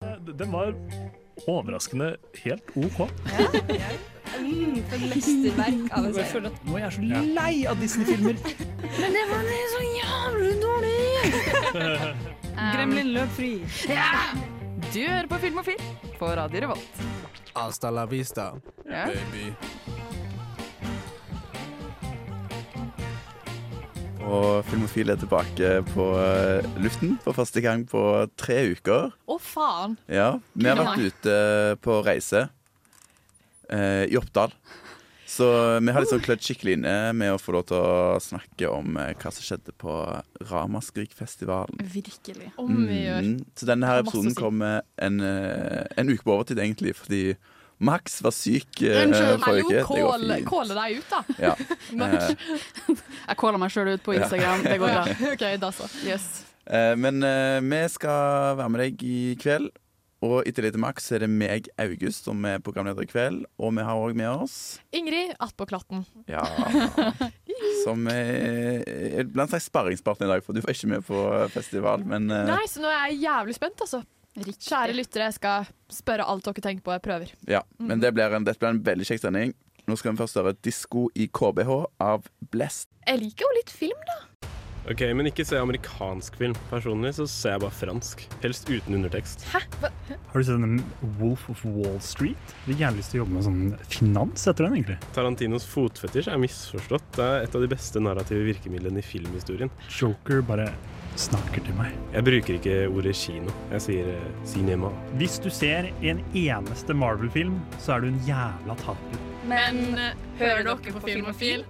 d- Eh, den var overraskende helt OK. Mm, for et mesterverk av en Jeg serie. føler at nå er jeg så lei av Disney-filmer. Men det var så jævlig dårlig! Gremlin løp fri. Du hører på Filmofil på Radio Revolt. Hasta la vista, Ja. baby. Og Filmofil er tilbake på eh, luften for første gang på tre uker. Å, faen! Ja, Vi har vært ute på reise eh, i Oppdal. Så vi har liksom klødd skikkelig inne med å få lov til å snakke om eh, hva som skjedde på Ramaskrik-festivalen. Virkelig. Om vi gjør. Mm, Så denne her Masse å si. episoden kommer en, eh, en uke på overtid, egentlig, fordi Max var syk eh, Unnskyld, forrige uke. Hallo, Det går kål, fint. kåle deg ut, da. Ja. Eh, Jeg caller meg sjøl ut på Instagram. Det går bra. OK, da så. Yes. Eh, Men eh, vi skal være med deg i kveld. Og etter Lite Max så er det meg, August, som er programleder i kveld. Og vi har òg med oss Ingrid attpåklatten. Ja. Som eh, er blant slags sparringspartner i dag, for du var ikke med på festival, men eh, Nei, så nå er jeg jævlig spent, altså. Riktig. Kjære lyttere, jeg skal spørre alt dere tenker på. Jeg prøver. ja. Men det blir en, dette blir en veldig kjekk sending. Nå skal vi først høre disko i KBH av Blest. Jeg liker jo litt film, da. Ok, Men ikke se amerikansk film. Personlig så ser jeg bare fransk. Helst uten undertekst. Har du sett den Wolf of Wall Street? Fikk gjerne lyst til å jobbe med sånn finans etter den, egentlig. Tarantinos fotfetisj er misforstått. Det er et av de beste narrative virkemidlene i filmhistorien. Joker bare snakker til meg. Jeg bruker ikke ordet kino. Jeg sier eh, cinema. Hvis du ser en eneste Marvel-film, så er du en jævla taper. Men eh, hører dere på Filmofil?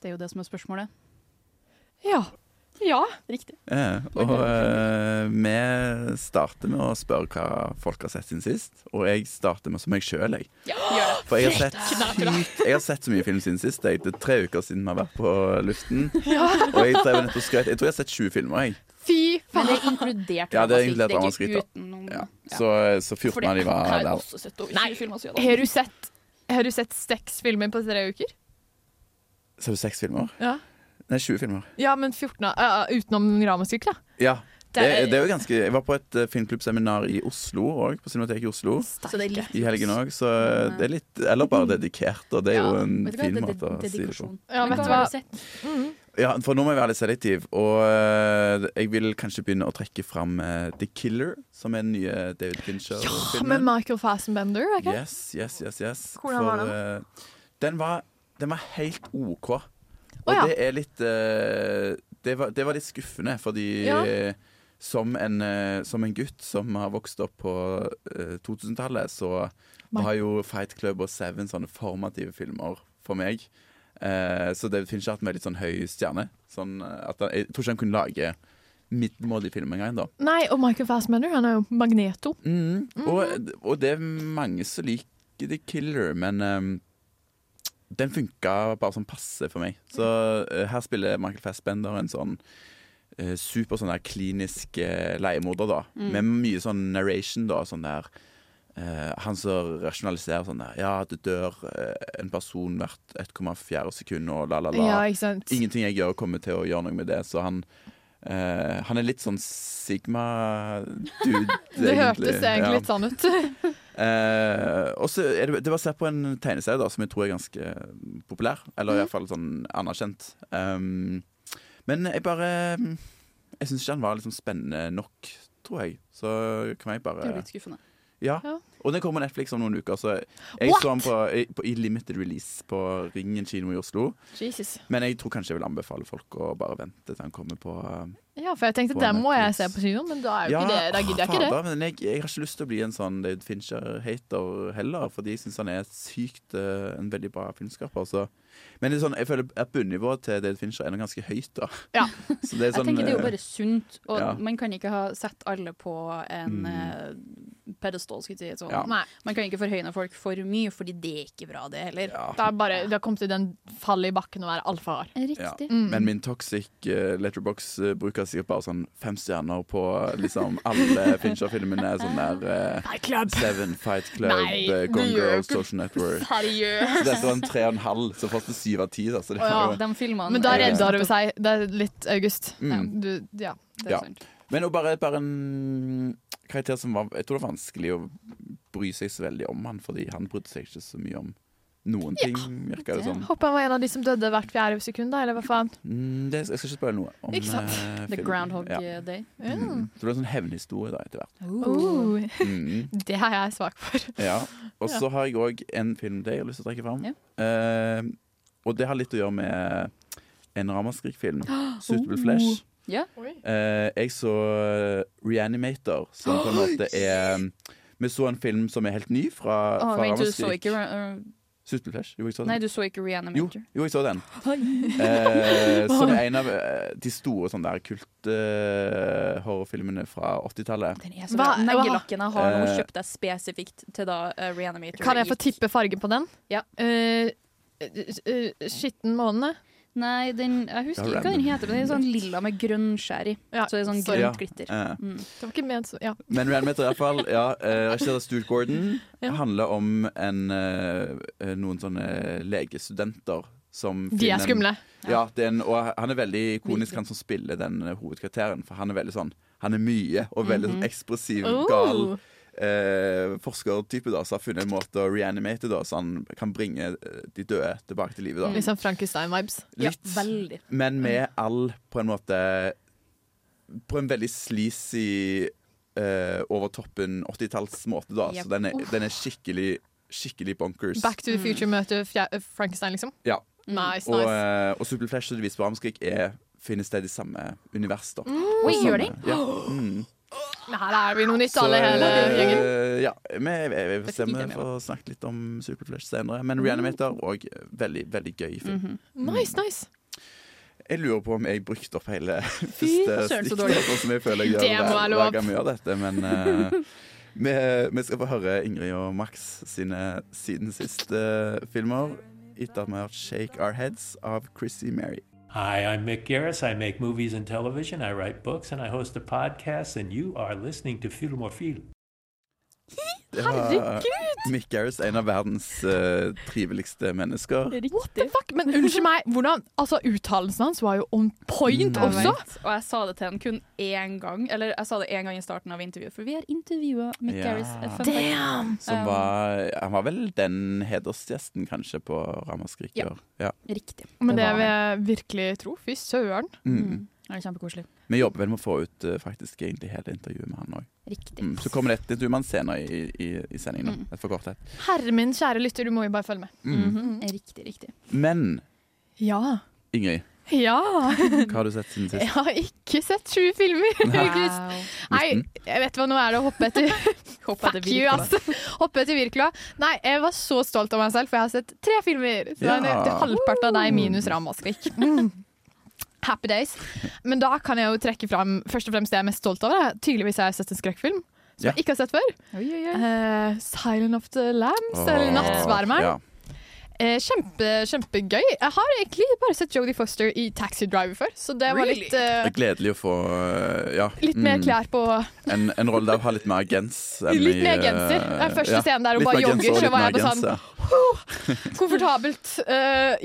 Det er jo det som er spørsmålet. Ja. Ja. Riktig. Eh, og eh, vi starter med å spørre hva folk har sett siden sist. Og jeg starter med som meg sjøl, jeg. For jeg har, sett, sykt- jeg har sett så mye film siden sist. Jeg. Det er tre uker siden vi har vært på luften. Og jeg, drev nettopp og skrøt. jeg tror jeg har sett 20 filmer. Jeg. Fy Men faen. det er inkludert Ja, det er inkludert ramaskrik, ramaskrik, utenom Ja. Så, eh, så 14 av de var der. Nei. der. Har du sett har du sett Stex-filmen på tre uker? Så er det seks filmer? Ja. Nei, 20 filmer. Ja, men 14 av, ja, utenom Ramaskrik, da. Ja. Det, Det er- det er jo ganske Jeg var på et eh, filmklubbseminar i Oslo òg, på Cinemateket i Oslo. Så det er litt I helgen òg, så det er litt Eller bare dedikert, og det er jo en fin måte å si det på. Ja, vet du hva? Mm. Ja, for nå må jeg være litt selektiv, og eh, jeg vil kanskje begynne å trekke fram eh, The Killer, som er den nye Ja, David Med Fincher-filmen. Michael Fassbender. er ikke det? yes, yes, yes, yes. Hvordan var den? eh, den, var, den var helt OK. Og Å, ja. det er litt eh, det, var, det var litt skuffende, fordi Ja. eh, som, en, eh, som en gutt som har vokst opp på eh, 2000-tallet, så Nei. har jo Fight Club og Seven sånne formative filmer for meg. Eh, så David Fincher har hatt med litt sånn høy stjerne. Sånn eh, at han, jeg tror ikke han kunne lage middelmådig film engang, da. Nei, og Michael Fassbender, han er jo Magneto. Mm. Og, og det er mange som liker The Killer, men ehm, den funka bare sånn passe for meg. Så eh, her spiller Michael Fassbender en sånn eh, super sånn der klinisk eh, leiemorder, da. Med mye sånn narration, da. Sånn der eh, Han som rasjonaliserer sånn der Ja, det dør eh, en person hvert 1,4 sekund, og la, la, la. Ja, ikke sant? Ingenting jeg gjør kommer til å gjøre noe med det, så han eh, han er litt sånn Sigma-dude, Det hørtes egentlig litt sånn ut. Eh, og så er det, det var sett på en tegneserie da, som jeg tror er ganske eh, populær. Mhm. Eller i hvert fall sånn anerkjent. Um, men jeg bare mm, Jeg syns ikke den var liksom spennende nok, tror jeg. Så kan jeg Det er bare jo litt skuffende. Ja. Ja. Og den kommer på Netflix om noen uker. Så jeg What? så den på, i, på, i limited release på Ringen kino i Oslo. Jesus. Men jeg tror kanskje jeg vil anbefale folk å bare vente til han kommer på eh, Ja, for jeg tenkte På den må jeg Netflix. se på kino, men da er jo ikke det. Da gidder jeg ikke det. fader, men jeg, jeg har ikke lyst til å bli en sånn David Fincher-hater heller, fordi jeg syns han er sykt eh, en veldig bra filmskaper. Så. Men det er sånn, jeg føler at bunnivået til David Fincher er noe ganske høyt, da. Ja. Så det er Jeg sånn, tenker det er jo eh, bare sunt, og ja. man kan ikke ha sett alle på en Mm. eh, pedestal, skulle jeg si. Sånn. Ja. Nei, Man kan ikke forhøyne folk for mye, fordi det er ikke bra, det heller. ja. det er bare Det har kommet til den fallet i bakken å være alfahard. Riktig. Mm. Men min toxic uh, letterbox-bruker sikkert bare sånn fem stjerner på liksom alle Fincher-filmene. Sånn der eh, Seven, Fight Club, Nei, eh, Gone det gjør jo Girl, ikke- Social Network. Seriøst? Så dette var en tre og en halv, så fått en syv av ti. da, Så det Å, ja. var jo De filmene Men da er- redder hun seg. Det er litt August. Sånn Mm. Du, ja. Det er Ja. sant. Men og bare, bare en karakter som var Jeg tror det var vanskelig å bry seg så veldig om han, fordi han brydde seg ikke så mye om noen ting, virker det som. Håper han var en av de som døde hvert fjerde sekund, da, eller hva faen. Mm, det, jeg skal ikke spørre noe om Ikke sant? eh, The filmen. Groundhog Ja. eh, Day. Mm. Så det ble en sånn hevnhistorie da, etter hvert. Oh, Mm. det er jeg svak for. Ja. Og så har jeg òg en film til jeg har lyst til å trekke fram. Ja. Eh, og det har litt å gjøre med en ramaskrik-film, 'Suitable Oh. Flesh'. Ja. Eh, jeg så eh, Reanimator, som på en måte er um, Vi så en film som er helt ny fra, Å, fra vent, du så Ramaskrik. ikke Ra- Suitable Flesh? Jo, jeg så eh, den. Nei, du så ikke Jo, Reanimator. Sånn. jo, jeg så den. Eh, som er en av eh, de store sånne der kult-horrorfilmene fra 80-tallet. Den er så bra. Hva- Neglelakkene har noe Eh. kjøpt deg spesifikt til da eh, Reanimator. Kan jeg få gikk. tippe fargen på den? Ja. Eh, eh, eh, skitten måne? Nei, den, jeg husker Ja, ikke hva den random. heter, men den er sånn lilla med grønn skjær i. Ja, Så det er sånn sorry. Ja. grønt glitter. Eh, Mm. Det var ikke ment så ja. men Reanimator i hvert fall, ja, eh, regissert av Stuart Gordon, Ja. handler om en, eh, noen sånne legestudenter som De er finner skumle. en- Ja, det er en, og han er veldig ikonisk, Virkelig. han som spiller den eh, hovedkarakteren. For han er veldig sånn Han er mye og veldig sånn ekspressiv, gal Mhm. Oh. eh, forskertype da, som har funnet en måte å reanimate da, så han kan bringe eh, de døde tilbake til livet. Da. Litt sånn Frankenstein-vibes. Litt, Ja, veldig. men med all på en måte På en veldig sleazy, eh, over toppen 80-tallsmåte, da. Yep. Så den er, den er skikkelig, skikkelig bonkers. Back to the future møter Fja- eh, Frankenstein, liksom. Ja. Mm. Nice, Og, nice. eh, og Super Flash og Devis på Ramskrik er finner eh, sted i samme Mm. univers. da. Oi, Og gjør samme- Ja. Mm. Men her er vi noe nytt, Så, alle hele eh, gjengen. Ja, vi, vi, vi får Det se om fikk jeg vi med får snakket litt om Superflash senere. Men Reanimator Mm. òg veldig, veldig gøy film. Mhm. Nice, nice. Jeg lurer på om jeg brukte opp hele søren, så første stikk, dårlig. sånn som jeg føler jeg gjør Det må hver, være hver lov. gang vi gjør dette. Men eh, vi, vi skal få høre Ingrid og Max sine siden siste filmer. Etter at vi har hørt 'Shake Our Heads' av Chrissy Mary. Hi, I'm Mick Garris. I make movies and television. I write books and I host a podcast. And you are listening to Film or Feel. Det var Mick Garris, en av verdens eh, triveligste mennesker. What the fuck? Men unnskyld meg, hvordan Altså, uttalelsen hans var jo on point Mm. også. Jeg vet, og jeg sa det til han kun én gang. Eller jeg sa det én gang i starten av intervjuet, for vi har intervjua Mick Ja. Garris. eh, fun fact. Som Um, var Han var vel den hedersgjesten, kanskje, på Ramaskrik i Ja. år. Ja. Riktig. Men det var vil han. jeg virkelig tro. Fy søren. Mm. Det er kjempekoselig. Vi jobber vel med å få ut eh, faktisk egentlig hele intervjuet med han òg. Riktig. Mm. Så kommer det et intervju med han senere i, i, i sendingen. Mm. da. Et forkortet. Herre min kjære lytter, du må jo bare følge med. Mm. Mhm. Mm-hmm. Riktig, riktig. Men Ja. Ingrid, Ja. hva har du sett siden Jeg sist? har ikke sett sju filmer. August. Nei, Nitten? jeg vet hva, nå er det å hoppe etter Håper det Fuck you, ass. Hoppe etter Wirkola. Nei, jeg var så stolt av meg selv, for jeg har sett tre filmer. Så det er Ja. nøyaktig halvparten av deg minus Ramaskrik. Mm. Happy days. Men da kan jeg jo trekke fram først og fremst det jeg er mest stolt over. da. Tydeligvis har jeg sett en skrekkfilm som Ja. jeg ikke har sett før. Oi, oi, oi. Eh, 'Silent of the Lambs', eller Åh, 'Nattsvermeren'. Ja. Eh, kjempe, kjempegøy. Jeg har egentlig bare sett Jodie Foster i Taxi Driver før, så det var Really? litt, eh, Det er gledelig å få eh, ja, litt mer mm, klær på En, en rolle der å ha litt mer gens. enn Litt i, mer eh, genser. Det er første ja, scenen der hun litt bare mer jogger, genser så og litt var jeg mer på sånn genser. komfortabelt. Eh,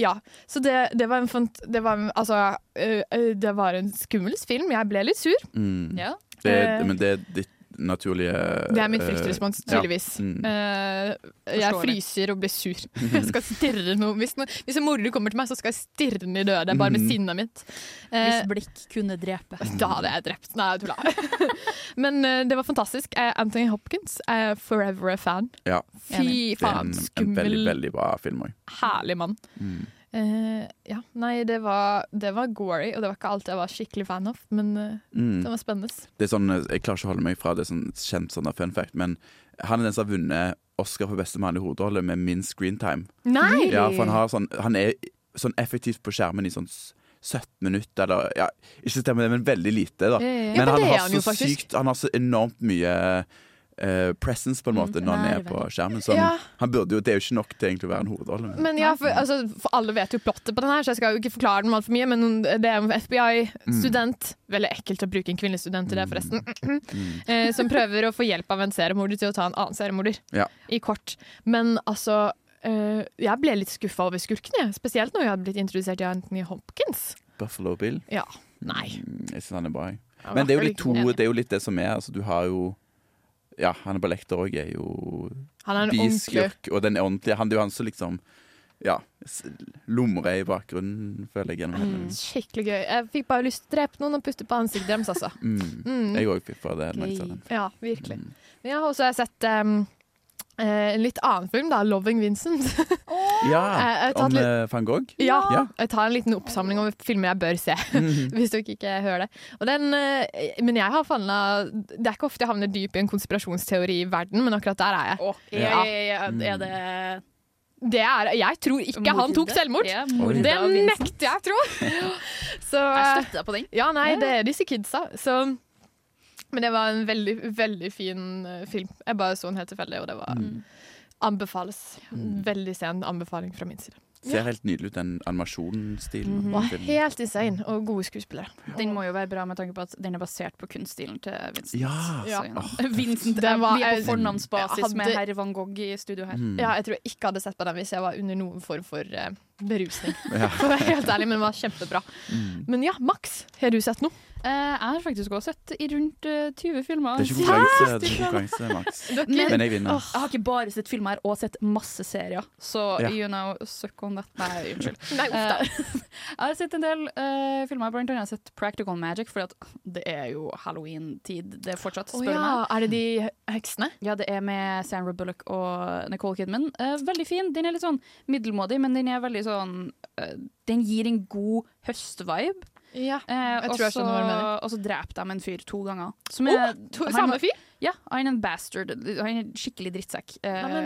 ja. Så det, det var en fant... Det var, en- altså, eh, eh, det var en skummel film. Jeg ble litt sur. Mm. Ja. Det, sånn. Eh, men det er ditt naturlige Det er min eh, fryktrespons, ja. tydeligvis. Mm. Eh, jeg Forståelig. fryser og blir sur. Jeg skal stirre noe. Hvis, no, hvis en morder kommer til meg, så skal jeg stirre den i døde, bare med Mhm. sinnet mitt. Eh, Hvis blikk kunne drepe. Da hadde jeg drept. Nei, jeg tulla. Men eh, det var fantastisk. Eh, Anthony Hopkins er forever a fan. Ja. Fy Det er en, faen, en skummel, veldig, veldig bra film òg. herlig mann. Mm. Eh, ja, nei, det var, det var gory, og det var ikke alt jeg var skikkelig fan av, men eh, Mm. det var spennende. Det er sånn, jeg klarer ikke å holde meg fra det sånn kjent sånn fun fact, men han er den som har vunnet Oscar for beste mann i hovedrolle med minst screentime. Nei! Ja, for han, har sånn, han er sånn effektivt på skjermen i sånn s- 17 minutter, eller ja, ikke stemmer det, men veldig lite. ja, da. Men men han det er har han så jo faktisk. sykt Han har så enormt mye eh, presence, på en måte, når han er nærvær. på skjermen. Så han, Mm. Ja. han burde jo, Det er jo ikke nok til egentlig å være en hovedrolle. Men, Men ja, for, altså, for alle vet jo plottet på den her, så jeg skal jo ikke forklare den altfor mye, men det er en FBI-student Veldig ekkelt å bruke en kvinnelig student til det, forresten. mm. eh, som prøver å få hjelp av en seriemorder til å ta en annen seriemorder. Ja. I kort. Men altså eh, Jeg ble litt skuffa over skurken, jeg. Spesielt når jeg hadde blitt introdusert i Anthony Hopkins. Buffalo Bill. Ja. Nei. Mm, Jeg syns han er bra. jeg. Men det er jo de Hvertfall to, ikke den det er jo litt det som er. Altså, du har jo Ja, han er på lekter òg, er jo Han er en ordentlig biskurk. Og den er ordentlig. Han det er jo han som liksom Ja, s- lumrer i bakgrunnen, føler jeg, gjennom Mm. hele Skikkelig gøy. Jeg fikk bare lyst til å drepe noen og puste på ansiktet deres, altså. mm. Mm. Jeg òg fikk fra det. når jeg så den. Ja, virkelig. Mm. Men jeg har også sett em, eh, en litt annen film, da. 'Loving Vincent'. Ja, Jeg- jeg tar om litt- eh, van Gogh. ja. Ja. Mm. Jeg tar en liten oppsamling over filmer jeg bør se, hvis dere ikke hører det. Og den, eh, men jeg har fanna Det er ikke ofte jeg havner dyp i en konspirasjonsteori i verden, men akkurat der er jeg. Å, ja, ja, ja, Mm. ja. Er det Det er, jeg tror ikke han tok mordet? selvmord. Ja, Oi. Det mordet av Vincent. nekter jeg å tro! Så Jeg eh, støtter deg på den. Ja, nei, det er disse kidsa. Så Men det var en veldig, veldig fin eh, film. Jeg bare så den helt tilfeldig, og det var Anbefales. Veldig sen anbefaling fra min side. Ser helt nydelig ut, den animasjonsstilen. Mm. Og Mhm. Mm. helt insane, og gode skuespillere. Den må jo være bra med tanke på at den er basert på kunststilen til Vincent. Ja. Så, Ja. Åh. Vincent Det er, var- Vi er jeg- på fornavnsbasis jeg med hadde- herr van Gogh i studio her. Mm. Ja, jeg tror jeg ikke hadde sett på den hvis jeg var under noen form for eh, berusning. Ja. For å være helt ærlig, men den var kjempebra. Mm. Men ja, Max, har du sett noe? Eh, jeg har faktisk også sett i rundt eh, 20 filmer. Det er ikke konkurranse, det er ikke konkurranse, Max. Men- Men jeg vinner. Åh, jeg har ikke bare sett filmer, jeg har også sett masse serier. Så Ja. you know, suck on that. Nei, unnskyld. Nei, uff da. Eh, jeg har sett en del eh, filmer, blant annet har jeg sett Practical Magic, for det er jo halloween-tid. Det er fortsatt, Å spør du ja, meg. er det de heksene? Ja, det er med Sandra Bullock og Nicole Kidman. Eh, veldig fin. Den er litt sånn middelmådig, men den er veldig sånn eh, Den gir en god høstvibe. Ja. Eh, Jeg og tror jeg skjønner hva du så- mener. Og så dreper de en fyr to ganger. Som Å, er- to, han- samme fyr? Ja, han er en bastard. Han er en skikkelig drittsekk. Eh, Nei,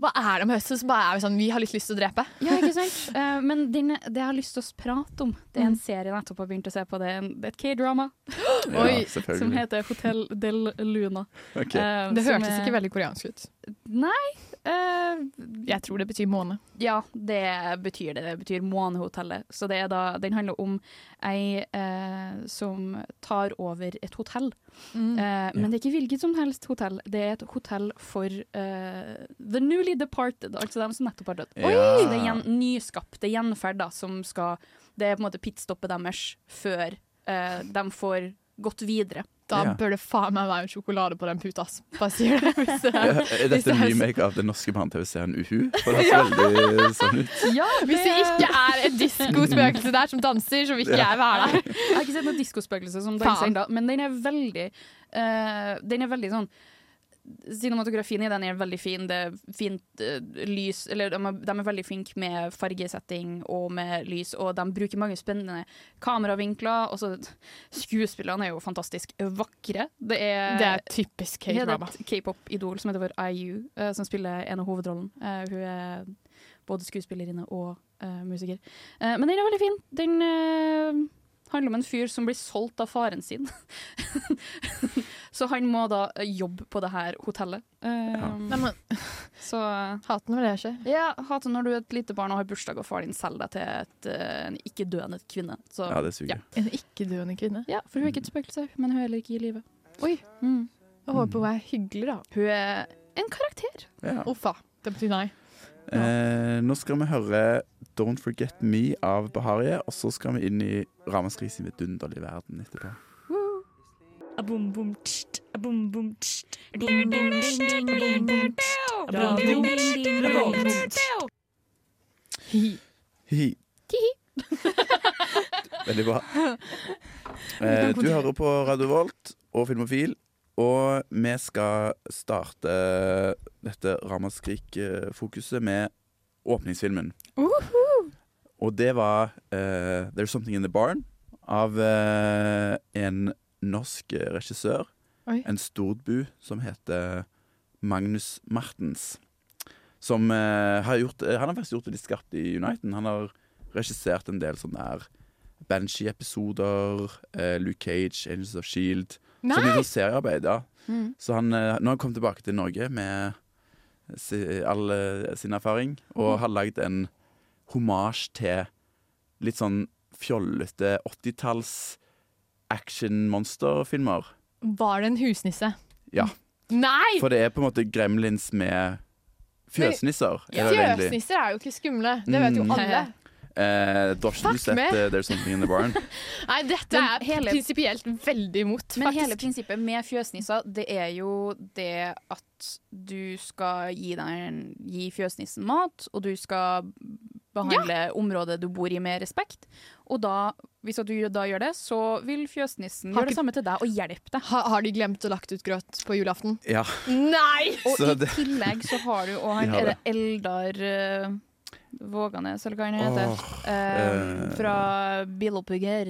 Hva er det med høsten som bare er sånn, vi har litt lyst til å drepe? ja, ikke sant? Eh, men den, det jeg har lyst til å prate om, det er Mm. en serie jeg nettopp har begynt å se på. Det er, en, det er et K-drama Oi, Ja, som selvfølgelig. heter Hotel Del Luna. Ok. Eh, Det som hørtes er- ikke veldig koreansk ut. Nei. eh, Jeg tror det betyr måne. Ja, det betyr det. Det betyr Månehotellet. Så det er da, den handler om ei eh, som tar over et hotell. Mm. Eh, Men det er ikke hvilket som helst hotell. Det er et hotell for eh, the newly departed, altså dem som nettopp har dødd. Ja. Så det er gjen, nyskapte gjenferd da, som skal Det er på en måte pitstoppet deres før eh, de får gått videre. Da Ja. bør det faen meg være sjokolade på den puta. ass. Bare sier det. Hvis eh, det er. Er dette en remake av den norske barne-TV-serien Uhu? For det høres veldig sånn ut. Ja, Hvis det ikke er et diskospøkelse der som danser, så vil ikke jeg være der. Jeg har ikke sett noen diskospøkelse som Faen. danser ennå, men den er veldig eh, Den er veldig sånn Cinematografien i den er veldig fin. Det er fint eh, lys Eller de er, de er veldig flinke med fargesetting og med lys, og de bruker mange spennende kameravinkler. Og så Skuespillerne er jo fantastisk vakre. Det er, Det er typisk Ja, det er K-drama. et K-pop-idol som heter for IU, eh, som spiller en av hovedrollen. Eh, hun er både skuespillerinne og eh, musiker. Eh, men den er veldig fin. Den eh, handler om en fyr som blir solgt av faren sin. så han må da eh, jobbe på det her hotellet. Eh, Ja. Nei, men, Så eh, hater når det skjer. ja, hater når du er et lite barn og har bursdag, og far din selger deg til et, eh, en ikke-døende kvinne. Så, Ja, det suger. En ikke-døende kvinne. ja, for hun er ikke et spøkelse, men hun er heller ikke i live. Oi. Mm. Jeg håper hun er hyggelig, da. Hun er en karakter. Ja. Uffa. Det betyr nei. Eh, nå skal vi høre 'Don't Forget Me' av Bahareh, og så skal vi inn i Ramaskrik sin vidunderlige verden etterpå. Hi. Veldig bra. Eh, du hører på Radio Volt og Filmofil, og vi skal starte dette Ramaskrik-fokuset med åpningsfilmen. Og det var eh, 'There's Something In The Barn' av eh, en norsk regissør. Oi. En storbu som heter Magnus Martens. Som eh, har gjort eh, Han har faktisk gjort det litt skarpt i Uniten. Han har regissert en del sånne der Banshee-episoder, eh, Luke Cage, Angels of Shield. Sånn litt sånn seriearbeid, ja. Mm. Så han, eh, nå har han kommet tilbake til Norge med si, all eh, sin erfaring, og Mhm. har lagd en homasj til litt sånn fjollete 80-talls action-monsterfilmer. Var det en husnisse? Ja. Nei! For det er på en måte gremlins med fjøsnisser. er det vel egentlig. Fjøsnisser er jo ikke skumle. Det vet jo Mm. alle. Eh, du har ikke du sett meg. eh, There's Something In The Barn? Nei, dette Men er hele- prinsipielt veldig imot, Men hele faktisk. prinsippet med fjøsnisser, det er jo det at du skal gi, den, gi fjøsnissen mat, og du skal behandle området du bor i med respekt. Og da, hvis at du da gjør det, så vil fjøsnissen Har gjøre ikke- det samme til deg og hjelpe deg. Ha, har de glemt å lagt ut grøt på julaften? Ja. Nei! Og Så i det- tillegg så har du og han De har er det det. Eldar eh, Våganes, eller hva han heter. Åh, eh, eh. fra eh, Bilopphugger.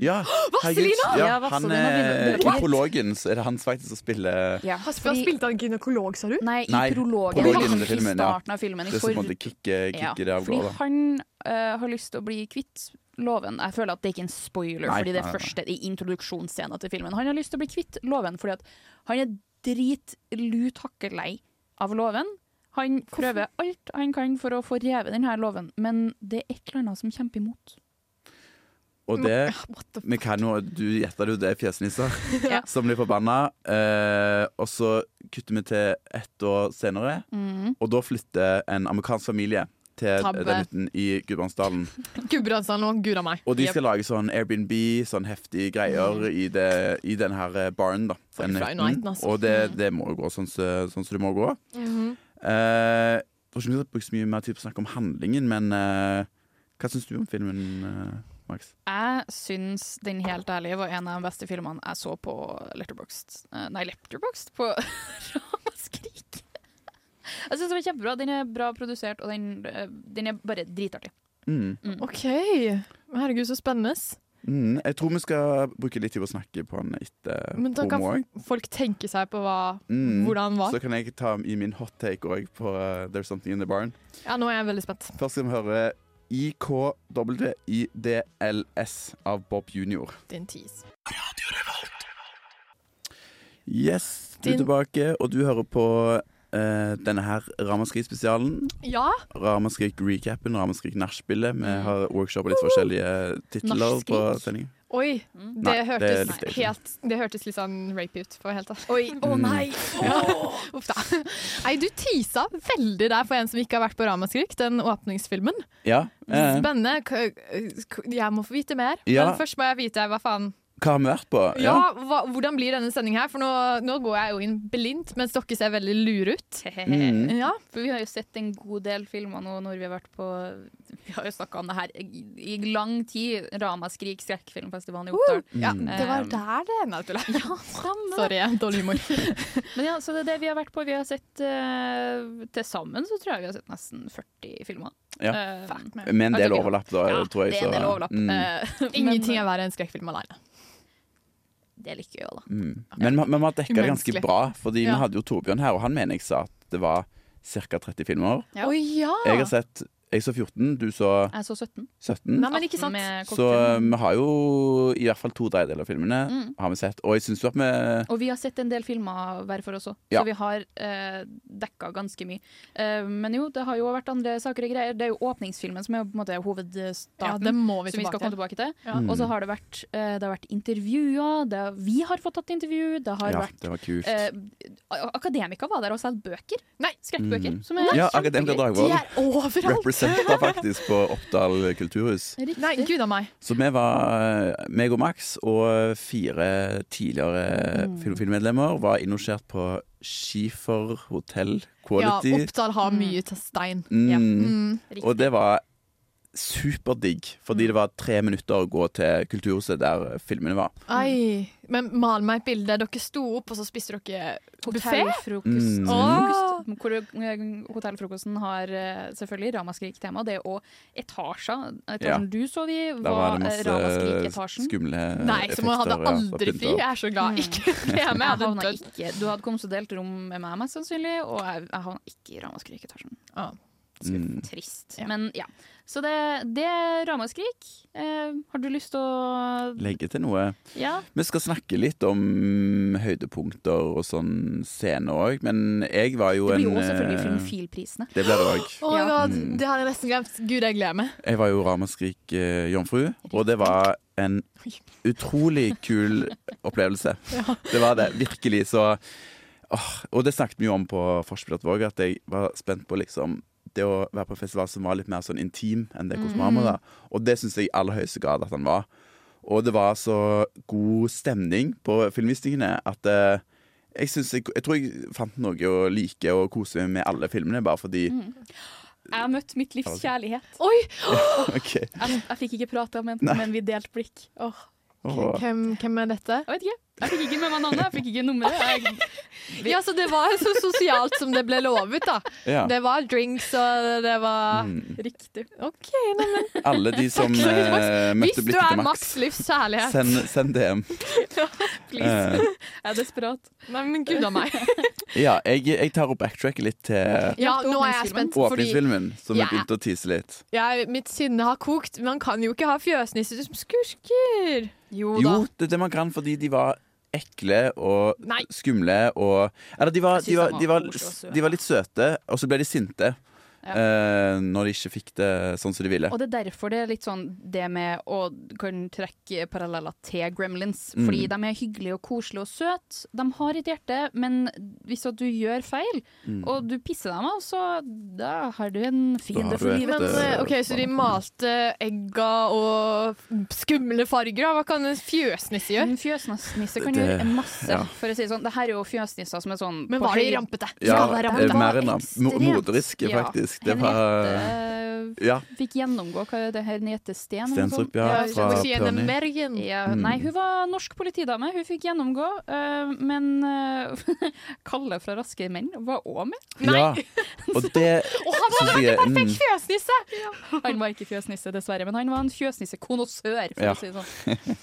ja. Vazelina! herregud, Ja, Ja, han Vazelina er begynner å bli- I prologen så er det han faktisk som spiller Ja, Hva spilte han gynekolog, sa du? Nei, i Nei, prologen. prologen liksom, til filmen, I ja. starten av filmen. I det som på en for... måte kicker, ja. kicker det av Fordi gårde. han eh, har lyst til å bli kvitt loven. Jeg føler at det er ikke en spoiler, Nei, fordi det nei, er nei. første i introduksjonsscenen til filmen. Han har lyst til å bli kvitt loven fordi at han er dritlut hakkelei av loven. Han prøver alt han kan for å få revet denne loven, men det er et eller annet som kjemper imot. Og det What the vi kan jo, Du gjetter jo det er fjesnisser Ja. som blir forbanna. Eh, og så kutter vi til ett år senere, og da flytter en amerikansk familie til Tabbe. den hytten i Gudbrandsdalen. Gudbrandsdalen og gura meg. Og de Jep. skal lage sånn Airbnb, sånn heftige greier i, det, i den her eh, baren. da For Den Friday hytten. night, altså. Og det, det må jo gå sånn som sånn som det må gå. Mhm. Eh, jeg tror ikke vi har brukt så mye mer tid på å snakke om handlingen, men eh, hva syns du om filmen, eh, Max? Jeg syns Den helt ærlige var en av de beste filmene jeg så på Letterboxd. Eh, Nei, Letterboxd? På Ramaskrik. Jeg syns den var kjempebra. Den er bra produsert, og den, eh, den er bare dritartig. Mm. OK. Herregud, så spennende. Mm. Jeg tror vi skal bruke litt tid på å snakke på den etter Men da kan promo òg. folk tenke seg på hva, Mm. hvordan den var. Så kan jeg ta i min hot take òg på eh, There's Something In The Barn. Ja, nå er jeg veldig spent. Først skal vi høre IKWIDLS av Bob Junior. Din tease. Yes, du er Din- tilbake, og du hører på eh, denne her Ramaskrik-spesialen. Ja, Ramaskrik-recapen, Ramaskrik-nachspielet. Vi Mm. har workshopa litt forskjellige titler på Nachskrik. sendingen. oi. Det, Mm. Nei, det hørtes lukter ikke. helt, det hørtes litt sånn rape ut, for å være helt ærlig. Oi, Mm. å nei! Uff da. Nei, du teasa veldig der for en som ikke har vært på Ramaskrik, den åpningsfilmen. Ja. eh, Spennende. K- k- Jeg må få vite mer. Ja. Men først må jeg vite hva faen hva har vi vært på? Ja, hva, hvordan blir denne sendingen her? For nå, nå går jeg jo inn blindt, mens dere ser veldig lure ut. Mm. Ja, For vi har jo sett en god del filmer nå når vi har vært på Vi har jo snakka om det her i, i lang tid. Ramaskrik, skrekkfilmfestivalen i Oppdal. ja, Eh, Mm. det var der det Nei, tuller jeg. Sorry, dårlig humor. Men ja, så det er det vi har vært på. Vi har sett eh, Til sammen så tror jeg vi har sett nesten 40 filmer. Ja. Eh, Med en del Ok, da. overlapp, da. ja, tror jeg, det er en så- del overlapp. Mm. eh, Ingenting men, er verre enn skrekkfilm alene. Det liker vi jo, da. Mm. Men vi- men vi har dekka det ganske Umenneskelig. bra, Fordi Ja. vi hadde jo Torbjørn her, og han mener jeg sa at det var ca. 30 filmer. Ja. Å ja! Jeg har sett Jeg så 14, du så Jeg så 17. 17. Nei, men ikke sant. Med Mm. Så eh, vi har jo i hvert fall to tredjedeler av filmene Mm. har vi sett. Og jeg syns jo at vi Og vi har sett en del filmer hver for oss òg, Ja. så vi har eh, dekka ganske mye. Eh, men jo, det har jo vært andre saker og greier. Det er jo åpningsfilmen som er jo på en måte hovedstarten. Ja, det må vi som vi skal tilbake komme tilbake til. til. Ja. Og så har det vært, eh, det har vært intervjuer. Det, har- vi har fått tatt intervju. Det har Ja, vært det var kult. Eh, akademika var der og solgte bøker. Nei, skrekkbøker. Mm. Som er ja, kjempegøy. Akademia De Dragvoll er overalt! representa faktisk på Oppdal kulturhus. Riktig. Nei, gud a meg. Så vi var, eh, meg og Max og fire tidligere Mm. filmfilmmedlemmer var innlosjert på Skifer Hotel Ja, Quality. Oppdal har mye til stein. Ja. Mm. Mm. Riktig. Mm. Og det var superdigg, fordi det var tre minutter å gå til kulturhuset der filmene var. Ai. Men mal meg et bilde. Dere sto opp, og så spiste dere buffé. Hotellfrokost. Mm. Frokost, Hvor eh, hotellfrokosten har eh, selvfølgelig Ramaskrik-tema. Det og etasjer. Etasjen du sov i, Der var var, eh, det masse Ramaskrik-etasjen. skumle Nei, som jeg hadde effekter, Eh, ja, aldri pynter. fri. Jeg er så glad jeg ikke ble med. Jeg Jeg hadde havna dødd. ikke Du hadde kommet og delt rom med meg, mest sannsynlig, og jeg, jeg havna ikke i Ramaskrik-etasjen. Ah. Mm. Trist. Ja. Men ja. Så det, det er Ramaskrik. Eh, har du lyst til å Legge til noe. Ja? Vi skal snakke litt om høydepunkter og sånn scene òg, men jeg var jo Det blir jo en også selvfølgelig eh, filmfilprisene. Det blir det òg. Oh my Ja. God, Mm. Det hadde jeg nesten glemt. Gud, jeg gleder meg. Jeg var jo Ramaskrik-jomfru, og det var en utrolig kul opplevelse. Det var det, virkelig. Så åh, Og det snakket vi jo om på Forspillet Våg, at jeg var spent på liksom det å være på festival som var litt mer sånn intim enn det Kosmama Mm. var. Og det syns jeg i aller høyeste grad at han var. Og det var så god stemning på filmvisningene at eh, jeg, synes jeg, jeg tror jeg fant noe å like og kose meg med alle filmene, bare fordi Mm. Jeg har møtt mitt livs kjærlighet. Oi! OK. Jeg, jeg fikk ikke prate om henne, men vi delte blikk. Åh, Åh. Hvem, hvem er dette? jeg vet ikke. Jeg fikk ikke med meg navnet, jeg fikk ikke nummeret. Jeg, Ja, så det var så sosialt som det ble lovet, da. Ja. Det var drinks, og det var Mm. riktig. OK, nå Alle de som eh, Hvis møtte du blikket er til Max, Max livs kjærlighet send, send DM. Please. Jeg er desperat. Nei, men gud a meg. Eh, ja, jeg, jeg tar og backtracker litt til Ja, nå er Åpningsfilmen. jeg spent, fordi åpningsfilmen, som Ja. jeg begynte å tise litt. jeg, mitt sinne har kokt. Man kan jo ikke ha fjøsnisser som skurker. Jo da. Jo, det er det man kan fordi de var ekle og Nei. skumle og Eller de var, Jeg synes de var, han de var var, koselig og søt. de var litt søte, og så ble de sinte. Ja. eh, når de ikke fikk det sånn som de ville. Og det er derfor det er litt sånn det med å kan trekke paralleller til gremlins. Mm. Fordi de er hyggelige og koselige og søte. De har et hjerte, men hvis at du gjør feil, Mm. og du pisser dem av, så Mm. da har du en har fiende du for et, livet. Men Det- eh, OK, så de malte egga og skumle farger. da. Hva kan en fjøsnisse gjøre? En fjøsnisse kan Det- gjøre en masse. ja. For å si det sånn, det her er jo fjøsnisser som er sånn Men på var de høy- rampete? Ja, Skal være eh, det var mer enn da. Mo- ekstremt. Moderiske, Ja. faktisk. Det var Henriette Ja. fikk gjennomgå hva er det her Henriette Steen eller noe sånt? Stensrup, ja. Ja, Fra Lucienne Pørni. Mergen. Ja, Mm. Nei, hun var norsk politidame. Hun fikk gjennomgå. øh, men øh, Kalle fra Raske menn var òg med. Ja. Og det syns jeg er mm, Fjøsnisse! Han var ikke fjøsnisse, dessverre, men han var en fjøsnissekonnoissør. for Ja. å si det sånn.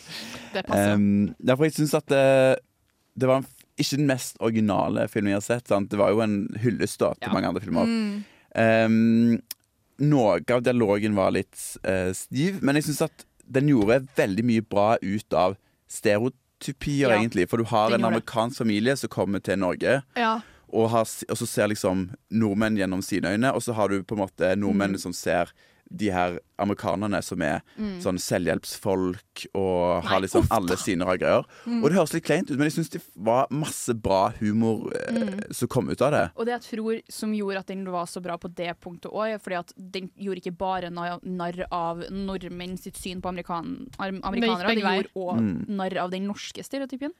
Det passer. em, Ehm, ja, for jeg syns at det, det var en f- ikke den mest originale filmen jeg har sett. Sant? Det var jo en hyllest da, til Ja. Mm. mange andre filmer. Ehm, noe av dialogen var litt eh, stiv, men jeg syns at den gjorde veldig mye bra ut av stereotypier, Ja, egentlig. For du har den en gjorde det. amerikansk familie som kommer til Norge, Ja. og, har, s- og så ser liksom nordmenn gjennom sine øyne, og så har du på en måte nordmenn Mm. som ser de her amerikanerne som er Mm. sånn selvhjelpsfolk og har liksom alle sine rare greier. Mm. Og det høres litt kleint ut, men jeg syns det var masse bra humor eh, Mm. som kom ut av det. Og det jeg tror som gjorde at den var så bra på det punktet òg, er fordi at den gjorde ikke bare na- narr av nordmenn sitt syn på amerikan am- amerikanere, begge den veier. gjorde òg Mm. narr av den norske stereotypien.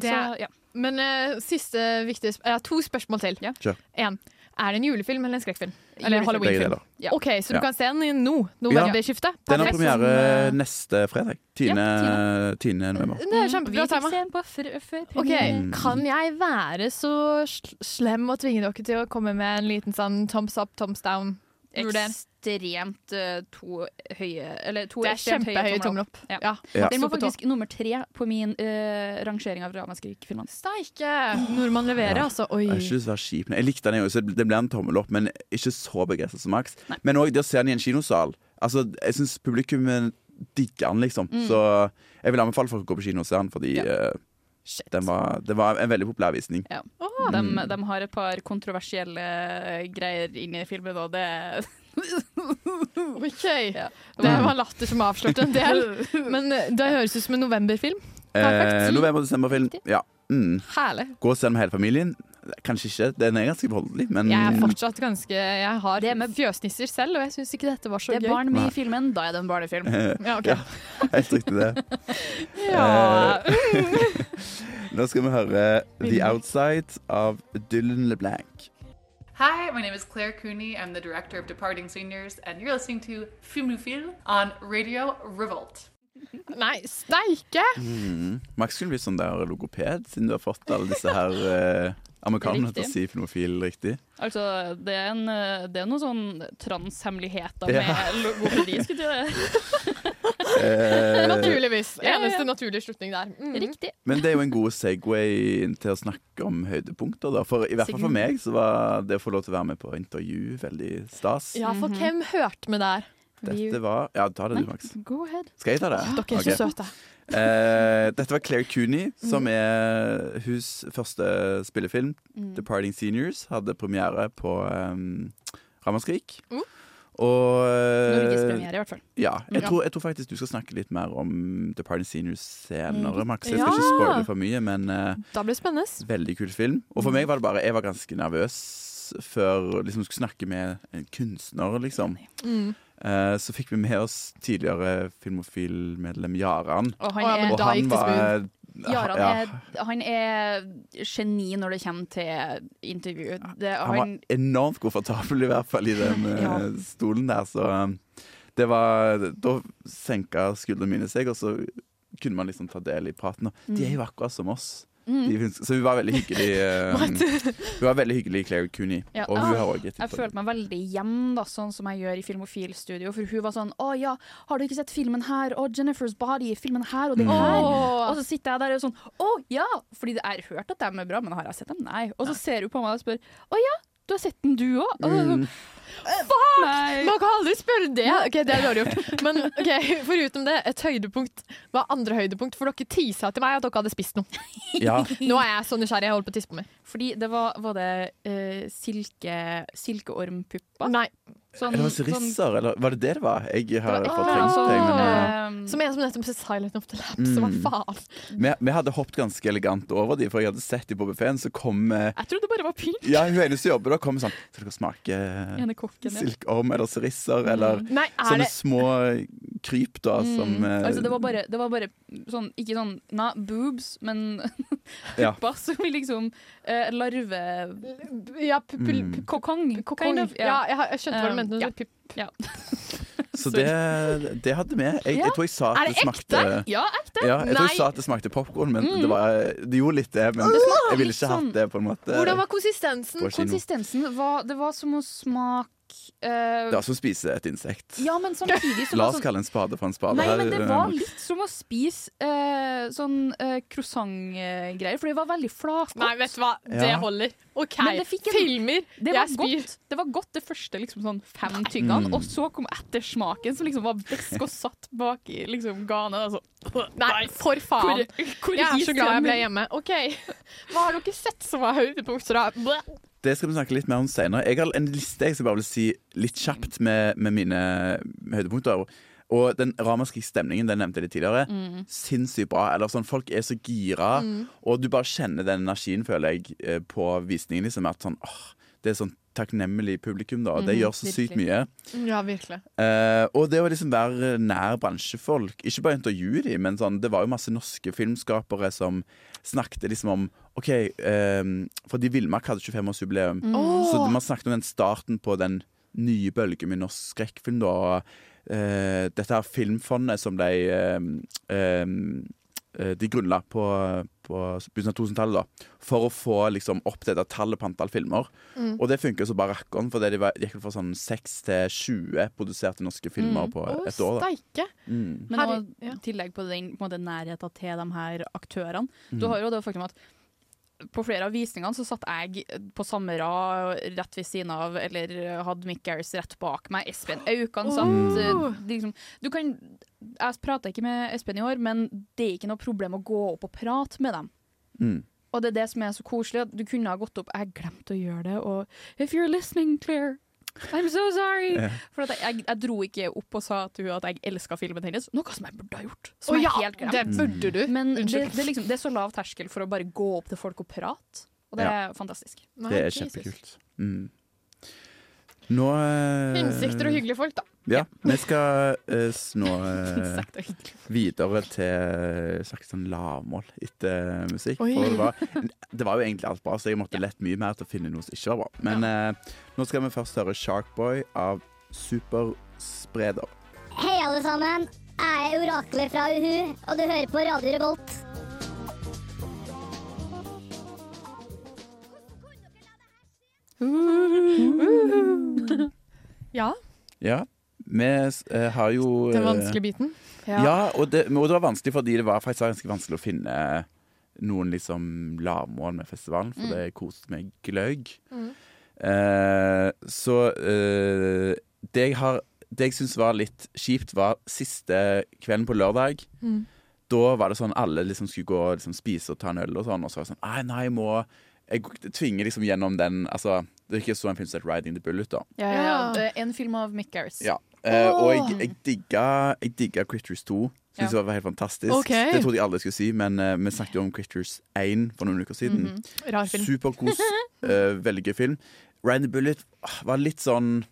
Det Så, ja. Men eh, siste viktige sp eh, To spørsmål til. Ja. Kjør. En. Er det en julefilm eller en skrekkfilm? Eller Julefilm. Begge halloweenfilm? deler. Ja. OK, så du Ja. kan se den i nå. Ja. Novemberskiftet. Den har Perfekt. eh, premiere neste fredag. 10. Ja, 10. november. Det er Mm. Vi kjempebra fikk tema. se den på før, før OK, Mm. premiere. kan jeg være så sl slem og tvinge dere til å komme med en liten sånn thumbs up, thumbs down? Vurder. Ekstremt eh, to høye Eller to Det er ekstremt kjempehøye tommel opp. Ja. Ja. Ja. Den var Så på topp. faktisk nummer tre på min eh, rangering av Ramaskrik-filmene. Steike! Nordmann leverer, altså. Oi. Jeg er ikke så kjip. Jeg likte den, jeg også. Det ble en tommel opp, men ikke så begeistret som Max. Nei. Men òg det å se den i en kinosal. Altså, jeg syns publikum eh, digger den, liksom. Så jeg vil anbefale folk å gå på kino og se den, fordi Ja. eh, Shit. den var, det var en veldig populær visning. Ja. De, Mm. de har et par kontroversielle eh, greier inni filmen, og det OK. Ja. Det var latter som avslørte en del. Men eh, det høres ut som en novemberfilm. Eh, Perfekt. November-desemberfilm. Ja. Mm. Herlig. Gå og se den med hele familien. Kanskje ikke, den er ganske voldelig, men Jeg er fortsatt ganske Jeg har Det med- fjøsnisser selv, og jeg syns ikke dette var så Det er gøy. barn med Nei. i filmen, da er det en barnefilm. Ja, ok. Ja. Helt riktig det. Eh, Ja. Nå skal vi høre The Outside av Dylan LeBlanc. Hi, my name is Claire Cooney. I'm the director of Departing Seniors, and you're listening to Filmophile on Radio Revolt. Nei, steike! Mm. Max skulle blitt sånn der logoped, siden du har fått alle disse her eh, amerikanerne til å si filmofil riktig. Altså, det er, en, eh, det er noen sånn transhemmeligheter Ja. med logopedi, skulle jeg si. Eh, Naturligvis. ja, ja. Eneste naturlige slutning der. Mm. det. Riktig. Men det er jo en god Segway inn til å snakke om høydepunkter, da. For i hvert fall for meg så var det å få lov til å være med på intervju veldig stas. Ja, for Mhm. hvem hørte med der? Dette var Ja, ta det du, Max. Go ahead. Skal jeg ta det? Dere er Ok. så søte. Eh, dette var Claire Cooney, som er hus første spillefilm. Mm. The Parting Seniors hadde premiere på um, Ramaskrik. Mm. Og eh, Norgespremiere, i hvert fall. Ja, jeg, Ja. Tror, jeg tror faktisk du skal snakke litt mer om The Party Seniors senere, Max. Jeg Mm. Ja. skal ikke spoile for mye, men eh, Da blir det spennende. Mm. veldig kul film. Og for meg var det bare Jeg var ganske nervøs før liksom skulle snakke med en kunstner, liksom. Mm. Eh, så fikk vi med oss tidligere filmofilmedlem Jaran. Og Å, ja, han men er, Og Eh, da gikk det han var Jaran ja, er, han er geni når det kommer til intervju. Det, Han var han, enormt komfortabel, i hvert fall, i den eh, Ja. stolen der. Så um, det var Da senka skuldrene mine seg, og så kunne man liksom ta del i praten. Og de er Mm. jo akkurat som oss. De, hun- så hun var veldig hyggelig. eh, hun var veldig hyggelig, Claire Cooney. Ja. Og hun Ah, har òg et jeg følte meg veldig hjemme, da, sånn som jeg gjør i Filmofil Studio. For hun var sånn 'Å ja, har du ikke sett filmen her?' 'Å, Jennifer's Body', filmen her Mm. og den her. Og så sitter jeg der og sånn 'Å ja!' Fordi jeg har hørt at dem er bra, men har jeg sett dem? Nei. Og så ser hun på meg og spør 'Å ja, du har sett den du òg?' Mm. Fuck! Nei. Man kan aldri spørre det! Ok, Det er dårlig gjort. Men ok, foruten det, et høydepunkt var andre høydepunkt, for dere tisa til meg at dere hadde spist noe. Ja, Sånn- Nå er jeg så nysgjerrig, jeg holder på å tisse på meg. Fordi det var, var det eh, silke, silkeormpupper? Nei. Sånn, det var risser, eller var det det det var? Jeg har Det var fått et eller annet trengt sånn, deg, men eh, eh, Som en som nettopp sa 'silent up the lap', Mm. så hva faen? vi, vi hadde hoppet ganske elegant over de, for jeg hadde sett de på buffeen, så kom eh, Jeg trodde det bare var pynt. Ja, hun ene som jobber der, kom sånn Skal dere smake Ene kokken, ja. silkeorm eller serisser, eller Nei, er Sånne det små kryp da som eh, Altså, det var bare, det var bare sånn, ikke sånn na, boobs, men ja. pupper som vi liksom eh, larve... Ja, pu- pu- Mm. Kokong, Kind of, ja, Ja. jeg, har- jeg skjønte hva du Um, ja. mente. når du pip- Så det, det hadde vi. Jeg, Ja. jeg tror jeg sa at Er det, det smakte Ja, ekte. ja, jeg tror Nei. jeg sa at det smakte popkorn, men det, var, det gjorde litt det. Men jeg ville litt ikke hatt Mm. sånn- det på en måte Hvordan var konsistensen? på kino. Konsistensen var Det var som å smake eh, Det var som å spise et insekt. Ja, men samtidig så La var oss sånn kalle en spade for en spade. Nei, her, men det eh, var litt som å spise eh, sånn eh, croissant-greier, for det var veldig flatgodt. Nei, vet du hva, det Ja. holder. OK, Men det fikk en- filmer. Det var, jeg spyr. godt. det var godt det første liksom, sånn fem tyggene, og så kom ettersmaken som liksom var besk og satt bak i liksom, ganet. Altså. Nei, for Hvor, faen. hvor Jeg er is så glad den- jeg ble hjemme. OK, hva har dere sett som var høydepunkter? da? Bleh. Det skal vi snakke litt mer om senere. Jeg har en liste jeg skal bare vil si litt kjapt med, med mine høydepunkter. Og den ramaskrike stemningen, den nevnte jeg litt tidligere. Sinnssykt bra. Eller sånn, Folk er så gira, og du bare kjenner den energien, føler jeg, eh, på visningen. liksom, at sånn, åh, Det er sånn takknemlig publikum, da. og Det gjør så sykt mye. Ja, virkelig. Eh, og det å liksom være nær bransjefolk Ikke bare intervjue dem, men sånn, det var jo masse norske filmskapere som snakket liksom om OK, eh, fordi Villmark hadde 25-årsjubileum. Så man snakket om den starten på den nye bølgen med norsk skrekkfilm. Da. og, eh, dette her filmfondet som ble eh, eh, eh, De grunnla på, på begynnelsen av 2000-tallet, da. For å få liksom, opp dette tallet på antall filmer. Og det funker jo så bare rakkeren, for det de var- gikk vel fra sånn 6 til 20 produserte norske filmer på Å, et år. da steike. mm. Men Herre- også i ja. tillegg på den på en måte, nærheten til de her aktørene. Du har jo det faktum at på flere av visningene så satt jeg på samme rad rett ved siden av, eller hadde Mick Garris rett bak meg. Espen Aukan satt eh, liksom, du kan, Jeg prata ikke med Espen i år, men det er ikke noe problem å gå opp og prate med dem. Mm. Og det er det som er så koselig. At du kunne ha gått opp Jeg glemte å gjøre det, og If you're listening, Claire, I'm so sorry. Eh. For at jeg, jeg, jeg dro ikke opp og sa til hun at jeg elska filmen hennes, noe som jeg burde ha gjort. Å Som jeg ja, helt det glemte. burde du. Men det, Unnskyld. det, er liksom, det er så lav terskel for å bare gå opp til folk og prate, og det er fantastisk. Nei, Det er Jesus. kjempekult. Mm. Nå eh, Innsikter og hyggelige folk, da. Ja, vi skal eh, s- nå eh, Sagt og hyggelig. videre til et slags sånn lavmål etter eh, musikk. Oi. For det, var, det var jo egentlig alt bra, så jeg måtte lett mye mer til å finne noe som ikke var bra. Men eh, nå skal vi først høre Sharkboy av Superspreder. Hei, alle sammen. Jeg er oraklet fra Uhu, og du hører på Radio Revolt. Ja, Ja, vi eh, har jo den eh, vanskelige biten. Ja, og, det, og det var vanskelig fordi det var faktisk ganske vanskelig å finne noen liksom lavmål med festivalen, for det koste meg gløgg. Eh, så eh, det jeg har Det jeg syns var litt kjipt, var siste kvelden på lørdag. Da var det sånn alle liksom skulle gå og liksom spise og ta en øl og sånn, og så var det sånn Nei, nei, jeg må Jeg tvinger liksom gjennom den Altså, det er ikke så en film som het 'Riding the Bullet', da. Ja, ja, ja. Det er En film av Mick Garris. Ja. Eh, og jeg, jeg, digga, jeg digga Critters 2. Synes Ja. Det var helt fantastisk. Ok. Det trodde jeg aldri jeg skulle si, men eh, vi snakket jo om Critters 1 for noen uker siden. Rar Mhm. film. Superkos. eh, veldig gøy film. Ryan the Bullet ah, var litt sånn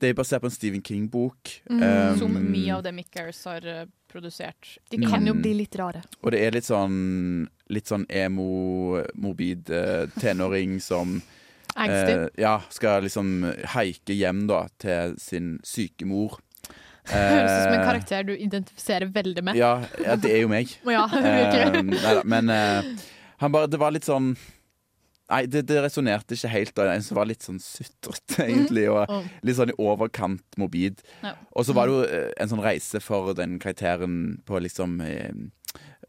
Det er basert på en Stephen King-bok. Mm, eh, Som mye av det Mick Garris har eh, produsert. De kan jo Mm. bli litt rare. Og det er litt sånn Litt sånn emo-morbid eh, tenåring som Angsty. Eh, ja, skal liksom haike hjem da til sin syke mor. Høres ut som en Eh, karakter du identifiserer veldig med. Ja, ja, det er jo meg. Å Ja, Eh, virkelig. neida, men eh, han bare Det var litt sånn Nei, det, det resonnerte ikke helt. Og en som var litt sånn sutrete, egentlig. Og Mm. litt sånn i overkant morbid. Ja. Og så var det jo eh, en sånn reise for den karakteren på liksom eh,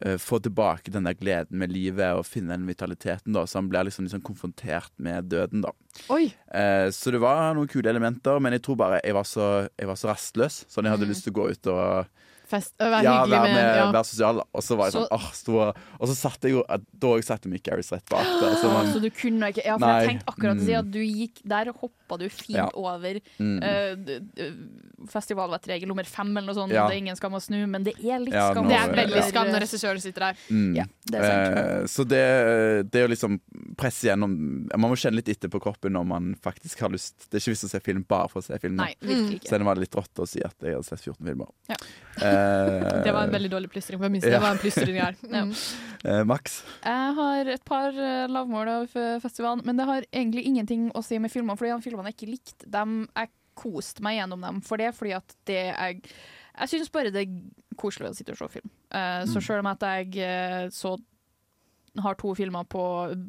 eh, få tilbake den der gleden med livet og finne den vitaliteten. da Så han blir liksom, liksom konfrontert med døden, da. Oi. Eh, så det var noen kule elementer, men jeg tror bare jeg var så, jeg var så rastløs. Sånn jeg hadde lyst til å gå ut og Fest, å være ja, hyggelig være med, med, ja. være sosial. Og så var jeg Så- sånn, åh, sto og- Og så satte jeg jo at- Da òg satte Mick Garris rett bak der. Så man, Så du kunne ikke Ja, for jeg Nei, tenkte akkurat å si mm. at du gikk Der hoppa du fint Ja. over mm. eh, d- d- festivalvettregel nummer fem eller noe sånt. Ja. Det er ingen skam å snu, men det er litt Ja, skam. nå- Det er Ja. veldig skam når regissøren sitter der. mm. Ja, det er sant. Eh, så det, det å liksom presse gjennom Man må kjenne litt etter på kroppen når man faktisk har lyst. Det er ikke vits å se film bare for å se film. Nei, virkelig ikke. Selv om det var litt rått å si at jeg hadde sett 14 filmer. Ja. Eh, Det var en veldig dårlig plystring. For minst, Ja. det var en plystring her. Ja. Mm. eh, Max? Jeg har et par eh, lavmål av eh, festivalen, men det har egentlig ingenting å si med filmene, fordi de filmene jeg ikke likte, dem, jeg koste meg gjennom dem for det, fordi at det jeg Jeg syns bare det er koselig å sitte og se film. Eh, Mm. så selv om at jeg eh, så har to filmer på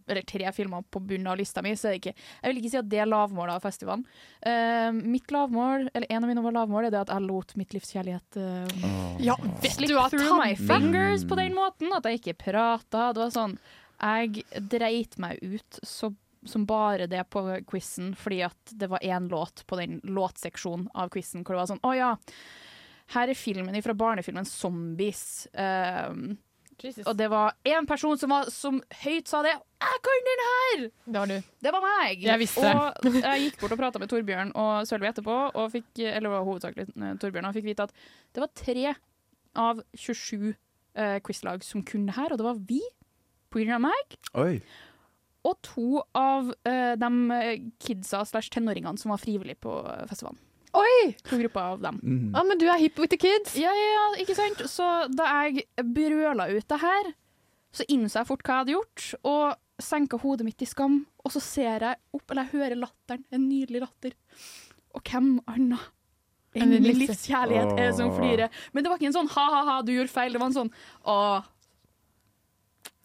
Eller tre filmer på bunnen av lista mi, så er det ikke Jeg vil ikke si at det er lavmålet av festivalen. Eh, mitt lavmål, eller en av mine lavmål, er det at jeg lot mitt livs kjærlighet eh, Ja, vet Slip du Mm. hva, through my tabbe! fingers på den måten. At jeg ikke prata. Det var sånn Jeg dreit meg ut så, som bare det på quizen, fordi at det var én låt på den låtseksjonen av quizen hvor det var sånn Å ja, her er filmen fra barnefilmen 'Zombies'. Ehm, Jesus. og det var én person som, var, som høyt sa det. 'Jeg kan den her!' Det har du. Det var meg! Jeg visste det. Og jeg gikk bort og prata med Torbjørn og Sølvi etterpå, og fikk, eller det var hovedsakelig eh, Torbjørn, og fikk vite at det var tre av 27 eh, quizlag som kunne det her, og det var vi, på grunn av meg, Oi. og to av eh, de eh, kidsa slash tenåringene som var frivillige på eh, festivalen. Oi! To grupper av dem. Mm. Ah, men du er hip with the kids. Ja, ja, ja, ikke sant? Så da jeg brøla ut det her, så innså jeg fort hva jeg hadde gjort, og senka hodet mitt i skam. Og så ser jeg opp, eller jeg hører latteren, en nydelig latter. Og hvem anna enn Enn din min livs- livs kjærlighet er det som Åh. flirer? Men det var ikke en sånn ha-ha-ha, du gjorde feil. Det var en sånn åh.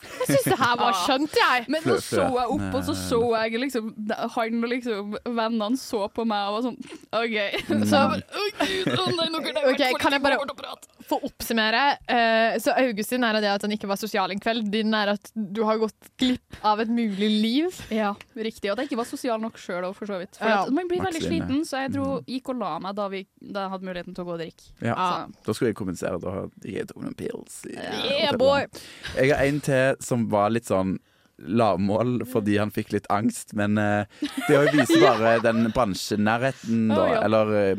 Jeg syns det her var Ah. skjønt, jeg. Men så Flø- så jeg opp, og så så jeg liksom han og liksom vennene så på meg og var sånn OK. Så jeg bare Å, gud, å nei, nå kunne jeg Ok, vært kan jeg bare- bort og prate. For å oppsummere, eh, så Augustin er av det at han ikke var sosial en kveld. Din er at du har gått glipp av et mulig liv. Ja, riktig. Og at jeg ikke var sosial nok sjøl òg, for så vidt. For Ja. at man blir veldig Maxine. sliten, så jeg dro, Mm. gikk og la meg da, vi, da jeg hadde muligheten til å gå og drikke. Ja. Så- Da skulle jeg kompensere. Da jeg tok noen pills. i- Yeah, boy! Jeg har en til som var litt sånn lavmål fordi han fikk litt angst, men eh, det å vise bare den bransjenærheten, da. Å, ja. Eller eh,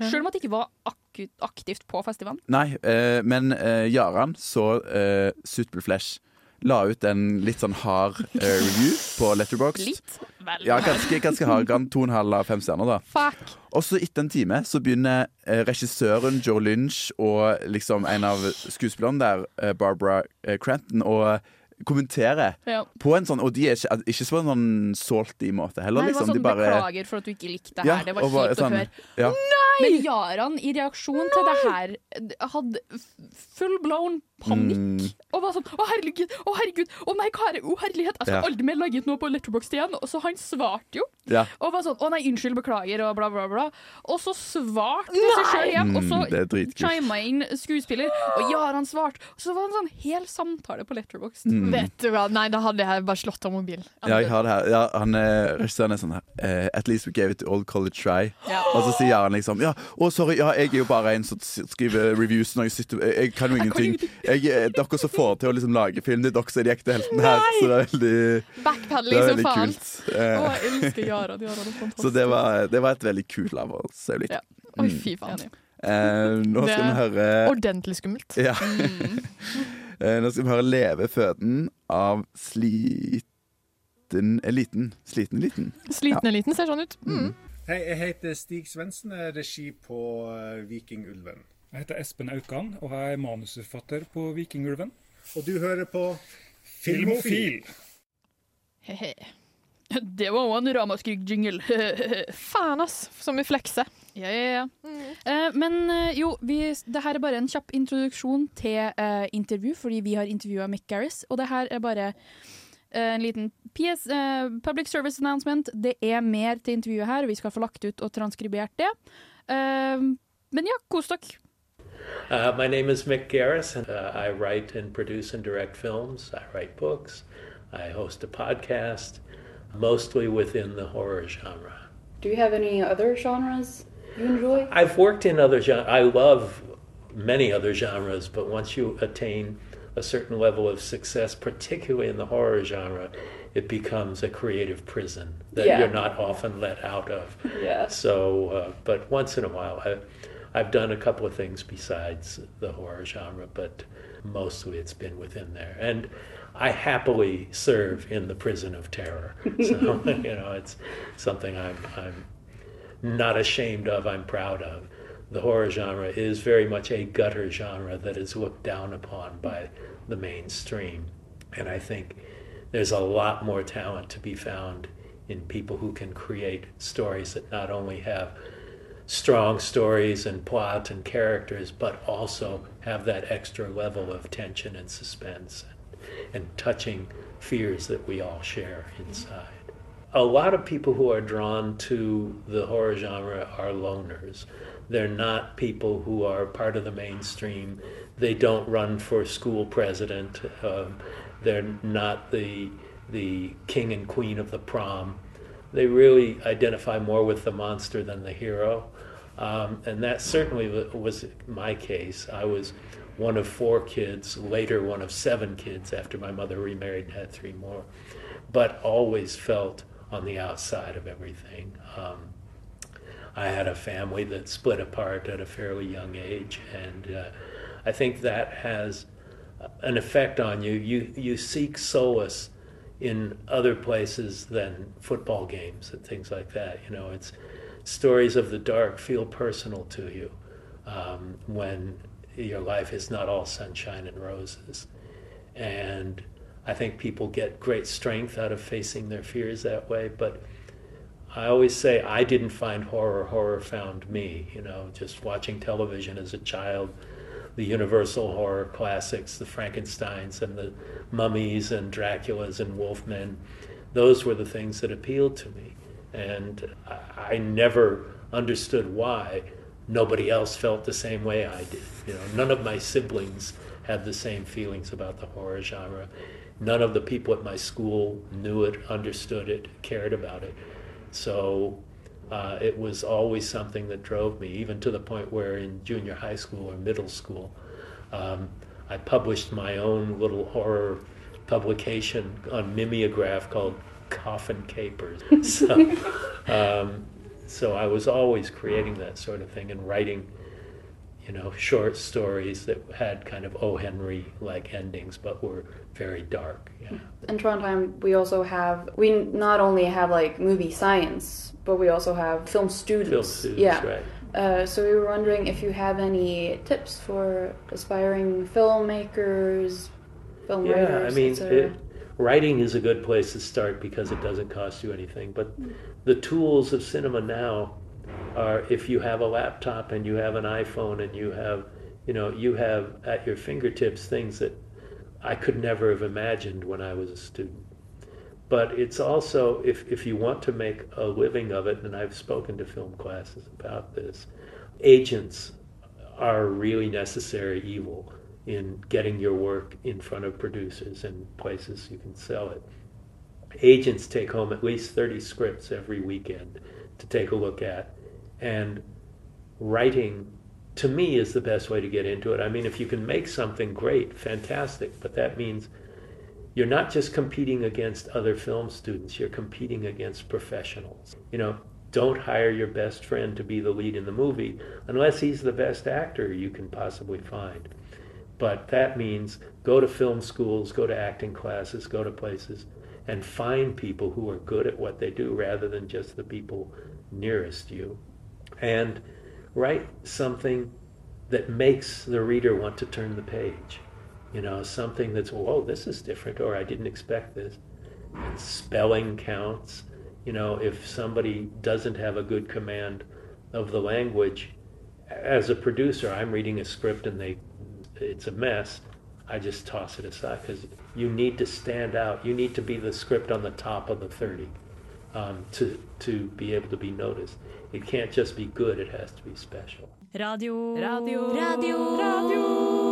Sjøl om at jeg ikke var akku- aktivt på festivalen. Nei, eh, men eh, Jaran så uh, Suitable Flesh. La ut en litt sånn hard eh, review på Letterboxd. Litt. Vel. Ja, ganske, ganske hard. Ga den To og en halv av fem stjerner, da. Fuck. Og så etter en time så begynner eh, regissøren Joe Lynch og liksom en av skuespillerne der, eh, Barbara eh, Crampton, å kommentere Ja. på en sånn Og de er ikke, al- ikke på en sånn salty måte heller, Nei, det var liksom. sånn De bare Beklager for at du ikke likte det her. Ja, det var og bare kjipt å sånn, høre. ja. Men Jaran, i reaksjon til det her, hadde f- full blown panikk. Mm. Og var sånn 'Å, herregud! Å, herregud! Å, nei, Kari! Å, herlighet! Jeg skal Ja. aldri mer legge ut noe på Letterboxd igjen!' Og så han svarte jo. Ja. Og var sånn 'Å nei, unnskyld, beklager', og bla, bla, bla. Og så svarte han seg sjøl igjen, og så Mm, det er dritkult. chima inn skuespiller, og ja, han svarte. Så var det en sånn hel samtale på Letterboxd. Mm. Vet du hva? Nei, da hadde jeg bare slått av mobilen. Ja, jeg har det her. Ja, han, eh, regissøren er sånn her eh, At least we gave it to old college try. Og så sier han liksom Ja, å, sorry, ja, jeg er jo bare en som s- skriver reviews når jeg sitter Jeg, jeg kan jo ingenting. Jeg, eh, dere som får til å liksom lage film, det er dere som er de ekte heltene her. Så det er veldig, det Backpedaling er som veldig faen. kult. Eh, Å, jeg elsker Jaran. Jaran er fantastisk. så det var, det var et veldig kult lavmål. Ja. Oi, fy faen. Eh, nå skal Det- vi høre Ordentlig skummelt. ja. Mm. Eh, Nå skal vi høre 'Leve føden' av Sliten Eliten. Sliten Eliten. Sliten eliten ser sånn ut. Mm. Hei, jeg heter Stig Svendsen, jeg er regi på eh, Vikingulven. Jeg heter Espen Aukan, og jeg er manusforfatter på Vikingulven. Og du hører på Filmofil. Hehe. Det var også en ramaskrik-jingle. Eh, Faen, ass. Som i flekse. Ja, ja, ja. Mm. Eh, men eh, jo, vi, det her er bare en kjapp introduksjon til eh, intervju, fordi vi har intervjua Mick Garris, og det her er bare eh, en liten PS, eh, public service announcement. Det er mer til intervjuet her, og vi skal få lagt ut og transkribert det. Eh, men ja, kos dere. Uh, my name is Mick Garris, and uh, I write and produce and direct films. I write books. I host a podcast, mostly within the horror genre. Do you have any other genres you enjoy? I've worked in other genres. I love many other genres, but once you attain a certain level of success, particularly in the horror genre, it becomes a creative prison that Yeah. you're not often let out of. Yeah. So, uh, but once in a while, I, I've done a couple of things besides the horror genre, but mostly it's been within there. And I happily serve in the prison of terror. So, you know, it's something I'm, I'm not ashamed of, I'm proud of. The horror genre is very much a gutter genre that is looked down upon by the mainstream. And I think there's a lot more talent to be found in people who can create stories that not only have strong stories and plot and characters, but also have that extra level of tension and suspense and touching fears that we all share inside. A lot of people who are drawn to the horror genre are loners. They're not people who are part of the mainstream. They don't run for school president. Um, they're not the the king and queen of the prom. They really identify more with the monster than the hero. Um, and that certainly wa- was my case. I was one of four kids, later one of seven kids after my mother remarried and had three more, but always felt on the outside of everything. Um, I had a family that split apart at a fairly young age, and uh, I think that has an effect on you. You you seek solace in other places than football games and things like that. You know, it's stories of the dark feel personal to you um, when your life is not all sunshine and roses, and I think people get great strength out of facing their fears that way, but. I always say I didn't find horror, horror found me. You know, just watching television as a child, the Universal horror classics, the Frankensteins and the mummies and Draculas and Wolfmen, those were the things that appealed to me. And I I never understood why nobody else felt the same way I did. You know, none of my siblings had the same feelings about the horror genre. None of the people at my school knew it, understood it, cared about it. So uh, it was always something that drove me, even to the point where in junior high school or middle school, um, I published my own little horror publication on mimeograph called Coffin Capers. So, um, so I was always creating that sort of thing and writing, you know, short stories that had kind of O. Henry like endings, but were very dark. Yeah. In Trondheim, we also have we not only have like movie science, but we also have film students. Film students, yeah. right. Uh, so we were wondering if you have any tips for aspiring filmmakers, film yeah, writers, I mean, etc. it, writing is a good place to start because it doesn't cost you anything. But the tools of cinema now are if you have a laptop and you have an iPhone and you have, you know, you have at your fingertips things that I could never have imagined when I was a student. But it's also, if, if you want to make a living of it, and I've spoken to film classes about this, agents are really necessary evil in getting your work in front of producers and places you can sell it. Agents take home at least 30 scripts every weekend to take a look at. And writing, to me, is the best way to get into it. I mean, if you can make something great, fantastic, but that means you're not just competing against other film students, you're competing against professionals. You know, don't hire your best friend to be the lead in the movie unless he's the best actor you can possibly find. But that means go to film schools, go to acting classes, go to places, and find people who are good at what they do rather than just the people nearest you. And write something that makes the reader want to turn the page. You know, something that's, whoa, this is different, or I didn't expect this. And spelling counts. You know, if somebody doesn't have a good command of the language, as a producer, I'm reading a script and they, it's a mess. I just toss it aside because you need to stand out. You need to be the script on the top of the 30 um, to, to be able to be noticed. It can't just be good, it has to be special. Radio. Radio. Radio.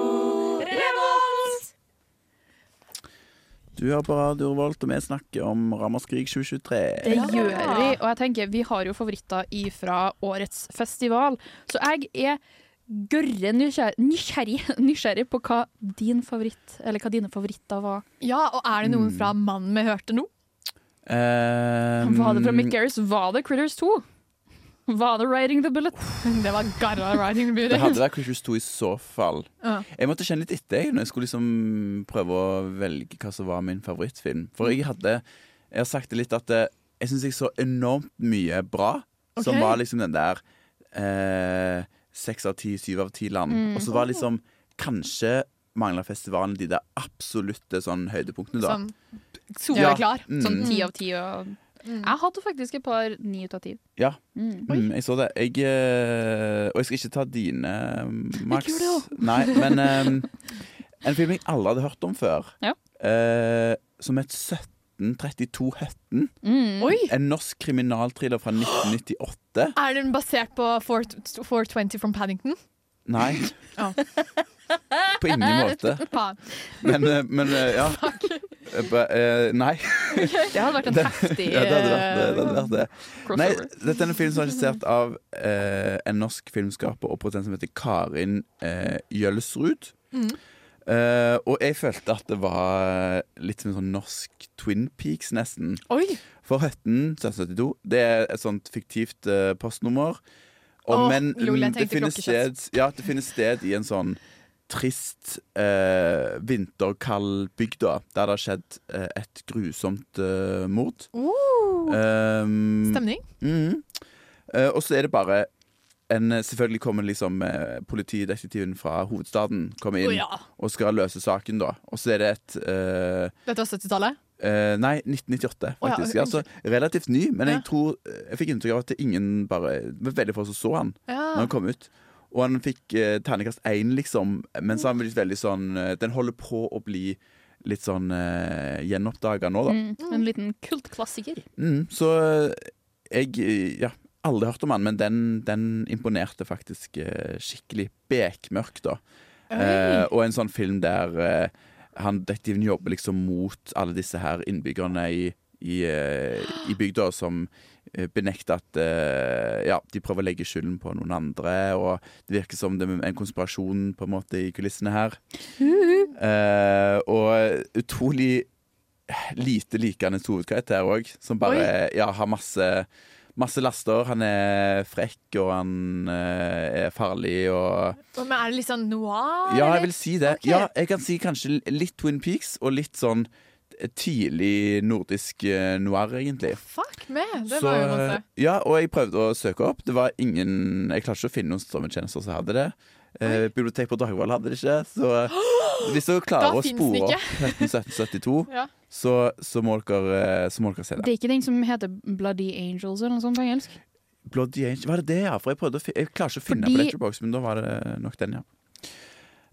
Du hører på Radio Revolt, og vi snakker om Ramaskrik 2023. Det gjør vi. Og jeg tenker, vi har jo favoritter ifra årets festival, så jeg er gørre nysgjerrig, nysgjerrig, nysgjerrig på hva din favoritt, eller hva dine favoritter var. Ja, og er det noen Mm. fra mannen vi hørte nå? Um, Var det fra Mick Garris? Var det Critters 2? Var det Riding the Bullet? Det var garra Riding the Det hadde Bullet. vært Crucius 2 i så fall. Ja. Jeg måtte kjenne litt etter jeg, når jeg skulle liksom prøve å velge hva som var min favorittfilm. For jeg hadde Jeg har sagt det litt at eh, jeg syns jeg så enormt mye bra som Ok. var liksom den der eh, seks av ti, syv av ti land. Mm. Og så var liksom Kanskje mangla festivalen de der absolutte sånn høydepunktene, da. Sånn soleklar. Ja. Mm. Sånn ti av ti og Jeg hadde faktisk et par ni ut av ti. Ja. Mm. Mm, jeg så det. Jeg, eh, og jeg skal ikke ta dine, eh, Max. Jeg gjorde det også. Nei, men eh, en film jeg aldri hadde hørt om før, Ja. eh, som het 1732 Høtten. Mm. Oi! En norsk kriminalthriller fra 1998. Er den basert på 4- 420 from Paddington? Nei, på ingen måte. Faen. Mm. Men, eh, men eh, ja. Eh, ba- eh, nei. Det hadde vært en Det- heftig eh, ja, det hadde vært eh, det. det, hadde vært det. crossover. Nei, dette er en film som er regissert av eh, en norsk filmskaper og produsent som heter Karin eh, Jølsrud. Mm. Mhm. Eh, og jeg følte at det var litt som en sånn norsk Twin Peaks, nesten. Oi. For Høtten 1772 det er et sånt fiktivt eh, postnummer. Og, Åh, men lol, jeg mm, det tenkte finnes, sted, klokkekjøtt. ja, det finnes sted i en sånn trist, eh, vinterkald bygd, da, der det har skjedd eh, et grusomt eh, mord. Oh, Um, Uh, Stemning? mhm. Eh, og så er det bare en, eh, Selvfølgelig kommer liksom eh, politidetektiven fra hovedstaden Kommer inn Å, ja. og skal løse saken, da. Og så er det et eh, Dette var 70-tallet? eh, Nei, Å, 1998, ja, faktisk. ok. altså relativt ny, men Ja. jeg tror eh, Jeg fikk inntrykk av at det ingen bare det var Veldig få som så han Ja. når han kom ut. Og han fikk eh, terningkast én, liksom, mens Mm. han blir veldig sånn eh, Den holder på å bli litt sånn eh, gjenoppdaga nå, da. Mm. En liten kultklassiker. Mm, så eh, jeg Ja, aldri hørt om han, men den, den imponerte faktisk eh, skikkelig bekmørk, da. Oi. Eh, og en sånn film der eh, han detektiven jobber liksom mot alle disse her innbyggerne i, i, eh, i bygda som eh, benekter at eh, ja, de prøver å legge skylden på noen andre, og det virker som det er en konspirasjon på en måte i kulissene her. Eh, og utrolig lite likende hovedkarakter òg, som bare eh, ja, har masse, masse laster. Han er frekk, og han eh, er farlig, og Men er det litt sånn noir? Ja, eller? jeg vil si det. Ja, jeg kan si kanskje litt Twin Peaks, og litt sånn tidlig nordisk eh, noir, egentlig. Fuck meg! Det Så, eh, var jo masse. ja, og jeg prøvde å søke opp. Det var ingen Jeg klarte ikke å finne noen strømmetjenester som hadde det. Eh, bibliotek på Dragvoll hadde det ikke. Så hvis dere klarer Da å finnes spore den opp 1772, Ja. så, så, må dere, eh, så må dere se Det det. er ikke den som heter Bloody Angels eller noe sånt på engelsk? Bloody Angel, var det det, ja? For jeg, prøvde å fi, jeg klarer ikke å finne Fordi- på Letterbox, men da var det nok den, ja.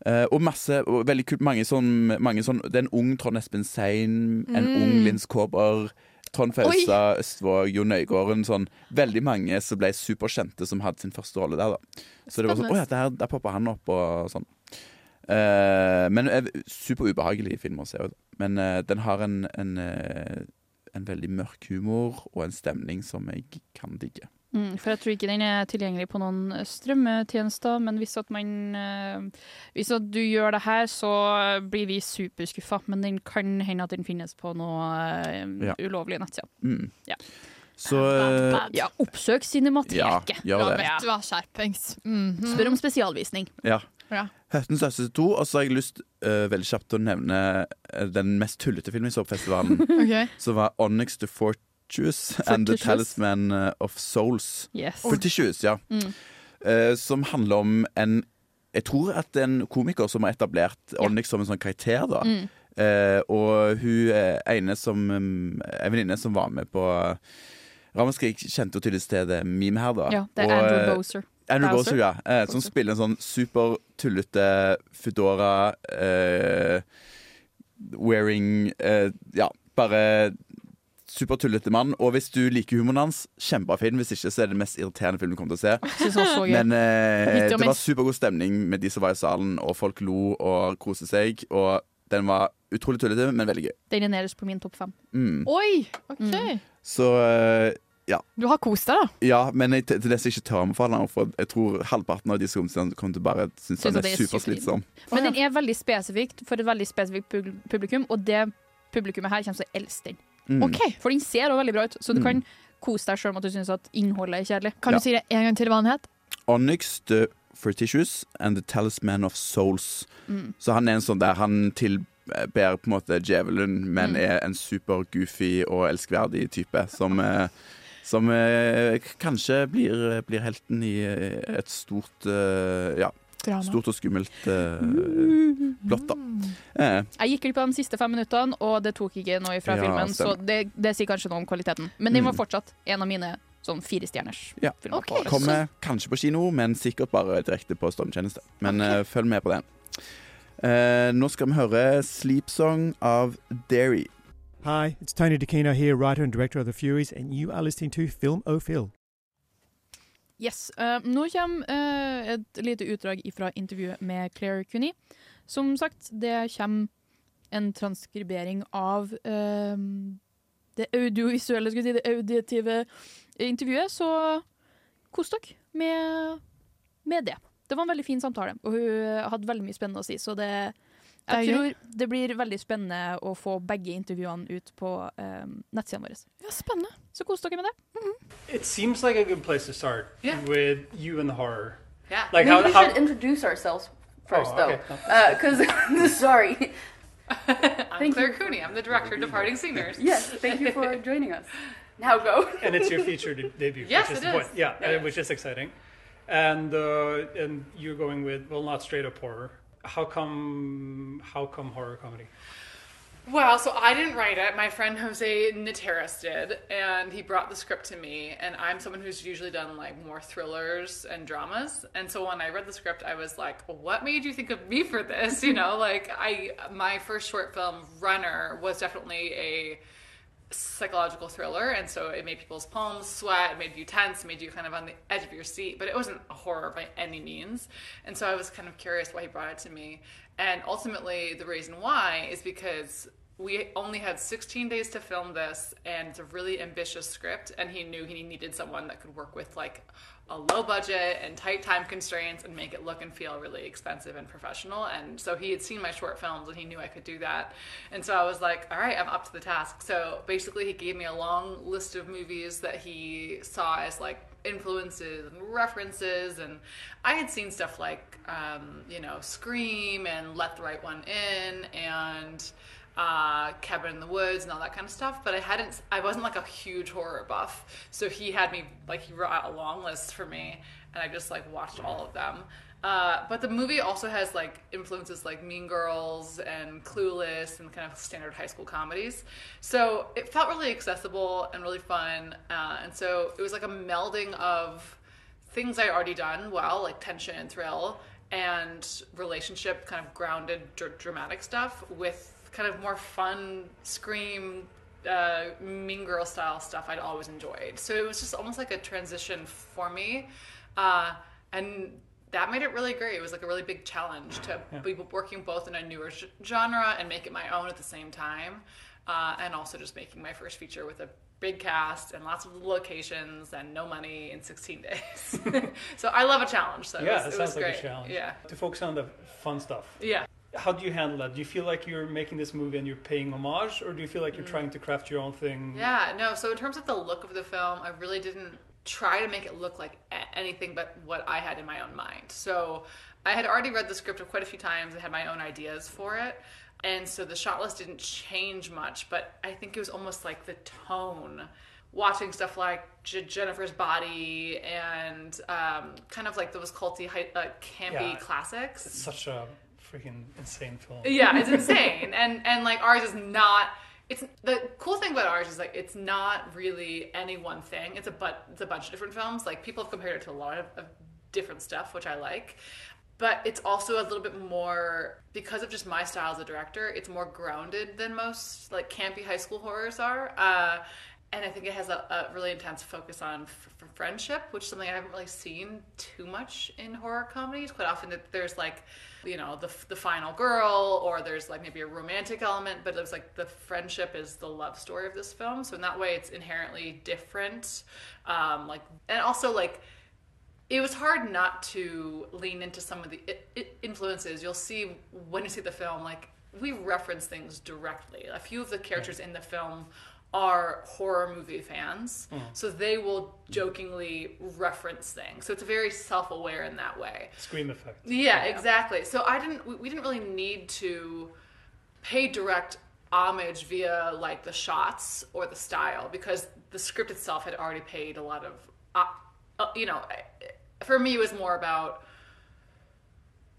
Eh, og masse, og veldig kult, mange sånn, mange sånn Det er en ung Trond Espen Sein, en Mm. ung Linn Skåber, Trond Fausa, Østvåg, Jo Nøygården. Sånn, veldig mange som ble superkjente, som hadde sin første rolle der. Da. Så det var sånn Spennende. Å ja, der, der poppa han opp, og sånn. Eh, men eh, superubehagelig film å se. også. Men eh, den har en, en, eh, en veldig mørk humor og en stemning som jeg kan digge. Mm, for jeg tror ikke den er tilgjengelig på noen eh, strømmetjenester, men hvis at man eh, Hvis at du gjør det her, så blir vi superskuffa, men den kan hende at den finnes på noe eh, Ja. ulovlige nettsider. Mm. Ja. Så eh, Ja, oppsøk Cinemateket. Ja, gjør det. Ja, Du har skjerpings. Mhm. Spør om spesialvisning. Ja. Ja. Høttens største to. Og så har jeg lyst eh, veldig kjapt å nevne eh, den mest tullete filmen jeg så på festivalen. Ok. Som var Onyx the Fortues and the Fortunes. Talisman eh, of Souls. Yes. Fortunes, ja. Mm. Eh, som handler om en Jeg tror at det er en komiker som har etablert Onyx som en sånn karakter, da. Mm. Eh, og hun eh, ene som um, En venninne som var med på Ramaskrik kjente jo tydeligvis til det meme her, da. Ja, det er Og, Andrew eh, Bowser. Andrew Bowser? Bowser, ja. Eh, som spiller en sånn super tullete Foodora eh, wearing eh, Ja, bare super tullete mann. Og hvis du liker humoren hans, kjempebra film. Hvis ikke, så er det den mest irriterende filmen du kommer til å Synes han se. var så gøy. Men eh, Midt og det var minst. supergod stemning med de som var i salen, og folk lo og koste seg. Og den var utrolig tullete, men veldig gøy. Den er nederst på min topp fem. Mm. Oi! OK. Mm. Så eh, ja. Du har kost deg, da. Ja, men jeg, til til det som ikke tør anbefale den, for jeg tror halvparten av de som kommer til- kommer til å bare synes Synes den at er det er superslitsom. Men den er veldig spesifikt for et veldig spesifikt pub- publikum, og det publikummet her kommer til å elske den. Mm. Ok. For den ser også veldig bra ut, så du Mm. kan kose deg selv om at du syns at innholdet er kjedelig. Kan Ja. du si det en gang til hva han het? Onyx, The Fortitious and The Talisman of Souls. Mm. Så han er en sånn der han tilber på en måte djevelen, Mm. men er en super goofy og elskverdig type som eh, som eh, k- kanskje blir, blir helten i eh, et stort eh, Ja, Drama. Mm. stort og skummelt eh, plott, da. Eh, Jeg gikk glipp av de siste fem minuttene, og det tok ikke noe fra Ja, filmen, så stemmer. det, det sier kanskje noe om kvaliteten. Men den var Mm. fortsatt en av mine sånn firestjerners. Ja. på året. Kommer kanskje på kino, men sikkert bare direkte på strømtjeneste. Men eh, følg med på den. Eh, nå skal vi høre 'Sleep Song' av Derry. Hi, it's Tony DeCino here, writer and director of The Furies, and you are listening to Film O'Phil. Yes, eh, Nå kommer eh, et lite utdrag fra intervjuet med Claire Cooney. Som sagt, det kommer en transkribering av eh, det audiovisuelle, skulle jeg si, det auditive intervjuet. Så kos dere med, med det. Det var en veldig fin samtale, og hun hadde veldig mye spennende å si. Så det, jeg Det er tror det blir veldig spennende å få begge intervjuene ut på uh, nettsidene våre. Ja, spennende. Så kos dere med det. It seems like a good place to start Yeah. with you and the horror. Yeah. Like Maybe how, we how should introduce ourselves first, Oh, though. okay. Because, sorry. I'm Claire Cooney. I'm the director of Departing Seniors. Yes, thank you for joining us. Now go. and it's your feature de- debut. Yes, which is it the point. is. Yeah, Yeah, uh, yeah. which is exciting. And uh, and you're going with well, not straight up horror. How come? How come horror comedy? Well, so I didn't write it. My friend Jose Nateras did, and he brought the script to me. And I'm someone who's usually done like more thrillers and dramas. And so when I read the script, I was like, "What made you think of me for this?" You know, like I my first short film, Runner, was definitely a psychological thriller, and so it made people's palms sweat, it made you tense, made you kind of on the edge of your seat, but it wasn't a horror by any means. And so I was kind of curious why he brought it to me. And ultimately, the reason why is because we only had 16 days to film this, and it's a really ambitious script, and he knew he needed someone that could work with like a low budget and tight time constraints and make it look and feel really expensive and professional. And so he had seen my short films and he knew I could do that. And so I was like, all right, I'm up to the task. So basically, he gave me a long list of movies that he saw as like influences and references. And I had seen stuff like, um, you know, Scream and Let the Right One In and uh, Cabin in the Woods and all that kind of stuff. But I hadn't, I wasn't like a huge horror buff. So he had me, like, he wrote out a long list for me, and I just, like, watched all of them. Uh, but the movie also has, like, influences like Mean Girls and Clueless and kind of standard high school comedies. So it felt really accessible and really fun. Uh, and so it was like a melding of, things I already done well, like tension and thrill, and relationship kind of grounded dr- dramatic stuff with kind of more fun scream, uh, mean girl style stuff I'd always enjoyed. So it was just almost like a transition for me, uh, and that made it really great. It was like a really big challenge to be working both in a newer g- genre and make it my own at the same time. Uh, and also just making my first feature with a big cast and lots of locations and no money in 16 days. so I love a challenge. So it yeah, was, that it sounds was like great. a challenge. Yeah. to focus on the fun stuff. Yeah. how do you handle that? Do you feel like you're making this movie and you're paying homage, or do you feel like you're Mm. trying to craft your own thing? Yeah, no. So in terms of the look of the film, I really didn't try to make it look like a- anything but what I had in my own mind. So I had already read the script quite a few times and had my own ideas for it. And so the shot list didn't change much, but I think it was almost like the tone. Watching stuff like J- Jennifer's Body and um, kind of like those culty, hy- uh, campy Yeah. classics. It's such a freaking insane film. Yeah, it's insane. and and like ours is not it's the cool thing about ours is like it's not really any one thing. It's a but it's a bunch of different films. Like people have compared it to a lot of, of different stuff, which I like. But it's also a little bit more because of just my style as a director. It's more grounded than most like campy high school horrors are, uh, and I think it has a, a really intense focus on f- f- friendship, which is something I haven't really seen too much in horror comedies. Quite often, that there's like, you know, the the final girl, or there's like maybe a romantic element, but it's like the friendship is the love story of this film. So in that way, it's inherently different. Um, like, and also like it was hard not to lean into some of the i- i- influences you'll see when you see the film like we reference things directly a few of the characters in the film are horror movie fans Mm. so they will jokingly reference things so it's very self-aware in that way Scream effect. yeah, exactly. So I didn't. We, we didn't really need to pay direct homage via like the shots or the style because the script itself had already paid a lot of. Uh, uh, you know, I- for me, it was more about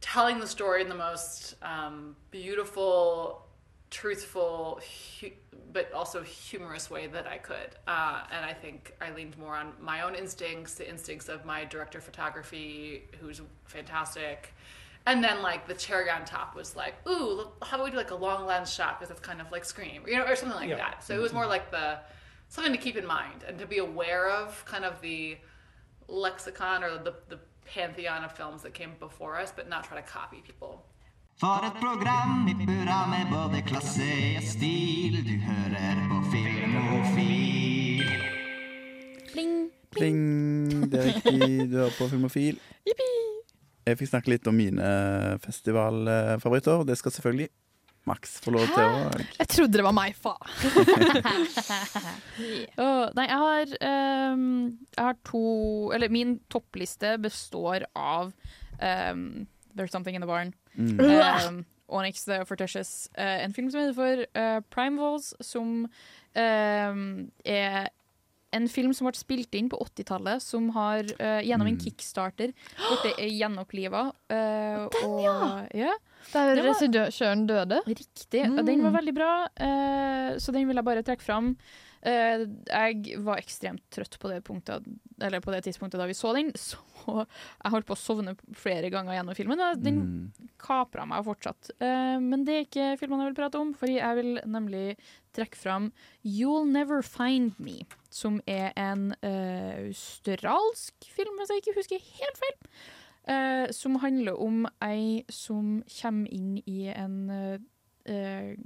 telling the story in the most um, beautiful, truthful, hu- but also humorous way that I could. Uh, and I think I leaned more on my own instincts, the instincts of my director of photography, who's fantastic. And then like the cherry on top was like, ooh, look, how about we do like a long lens shot because it's kind of like Scream, you know, or something like Yeah. that. So it was more like the something to keep in mind and to be aware of, kind of the lexicon or the, the pantheon of films that came before us, but not try to copy people. For et program i burra med både klasse og stil. Du hører på Filmofil. Pling! Det er riktig, du hører på Filmofil. Jeg fikk snakke litt om mine festivalfavoritter. Det skal selvfølgelig Max få lov til å Jeg trodde det var meg, faen. Åh, nei, jeg har, ehm, jeg har to Eller min toppliste består av ehm, There's Something in the Barn. Mm. Eh, ehm, Onyx The Fortitious. eh, en film som heter for eh, Prime Walls, som ehm, er en film som ble spilt inn på 80-tallet, som har eh, gjennom en Mm. kickstarter blitt gjenoppliva. Uh, Den, ja! Der Det var- regissøren døde. Riktig. og Den var veldig bra, eh, så den vil jeg bare trekke fram. Eh, jeg var ekstremt trøtt på det, punktet, eller på det tidspunktet da vi så den, så jeg holdt på å sovne flere ganger gjennom filmen. og Den Mm. kapra meg fortsatt. Eh, men det er ikke filmene jeg vil prate om, fordi jeg vil nemlig trekke fram You'll Never Find Me, som er en eh, australsk film, hvis jeg ikke husker helt feil. Eh, som handler om ei som kommer inn i en eh, eh,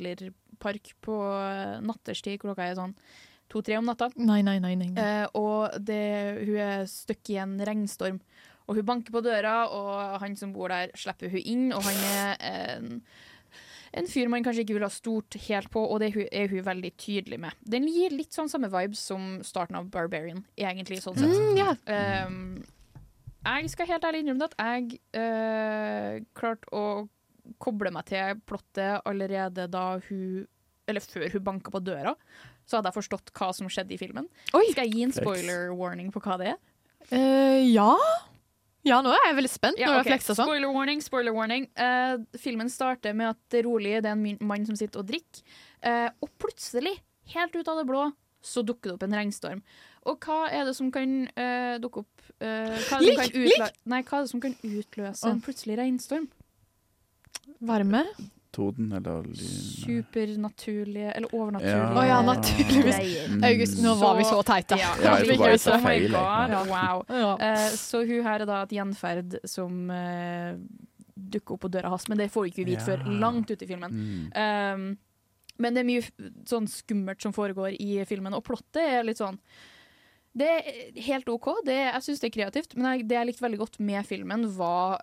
trailerpark på eh, natterstid. Klokka er sånn to-tre om natta. Nei, nei, nei. nei. Eh, og det, hun er støkk i en regnstorm. Og hun banker på døra, og han som bor der, slipper hun inn. Og han er en, en fyr man kanskje ikke ville ha stort helt på, og det er hun- er hun veldig tydelig med. Den gir litt sånn samme vibes som starten av Barbarian, egentlig, sånn sett. Mm, ja. Ehm, jeg skal helt ærlig innrømme at jeg eh, klarte å koble meg til plottet allerede da hun Eller før hun banka på døra. Så hadde jeg forstått hva som skjedde i filmen. skal jeg gi en Flex. spoiler warning på hva det er? Eh, ja. ja, nå er jeg veldig spent. når Ja, du ok. har fleksa sånn. Spoiler warning, spoiler warning. Eh, filmen starter med at det er rolig, det er en min- mann som sitter og drikker. Eh, og plutselig, helt ut av det blå, så dukker det opp en regnstorm. Og hva er det som kan eh, dukke opp eh, hva, er det som Lik, kan utla- Nei, hva er det som kan utløse en Å. plutselig regnstorm? Varme. Toden eller lyn. Supernaturlige eller Ja. overnaturlige Å ja, naturligvis. greier. August, nå var vi så teite. Ja. Ja, jeg tror bare jeg sa Oh my feil, jeg. God, Ja. Wow. Ja. Eh, så hun her er da et gjenferd som eh, dukker opp på døra hans, men det får vi ikke vite Ja. før langt ute i filmen. Mm. Um, men det er mye f- sånn skummelt som foregår i filmen, og plottet er litt sånn Det er helt OK. Det, jeg syns det er kreativt. Men jeg, det jeg likte veldig godt med filmen, var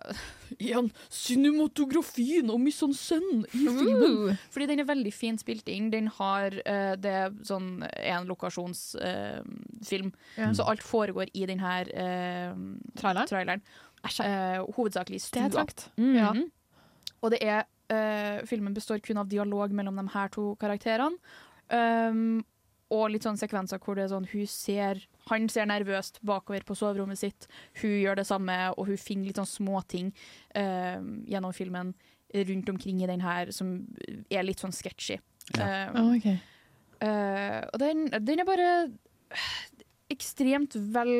igjen cinematografien og mise en scène i filmen. Mm. Fordi den er veldig fint spilt inn. Den har eh, Det er sånn en lokasjonsfilm. Ja. Så alt foregår i den her eh, traileren. Eh, hovedsakelig i stua. Det er trangt. Mhm. Ja. Og det er eh, Filmen består kun av dialog mellom de her to karakterene. Um, og litt sånn sekvenser hvor det er sånn hun ser, han ser nervøst bakover på soverommet sitt, hun gjør det samme, og hun finner litt sånn småting um, gjennom filmen rundt omkring i den her som er litt sånn sketchy. Ja. Um, Ah, ok. eh, og den, den er bare eh, ekstremt vel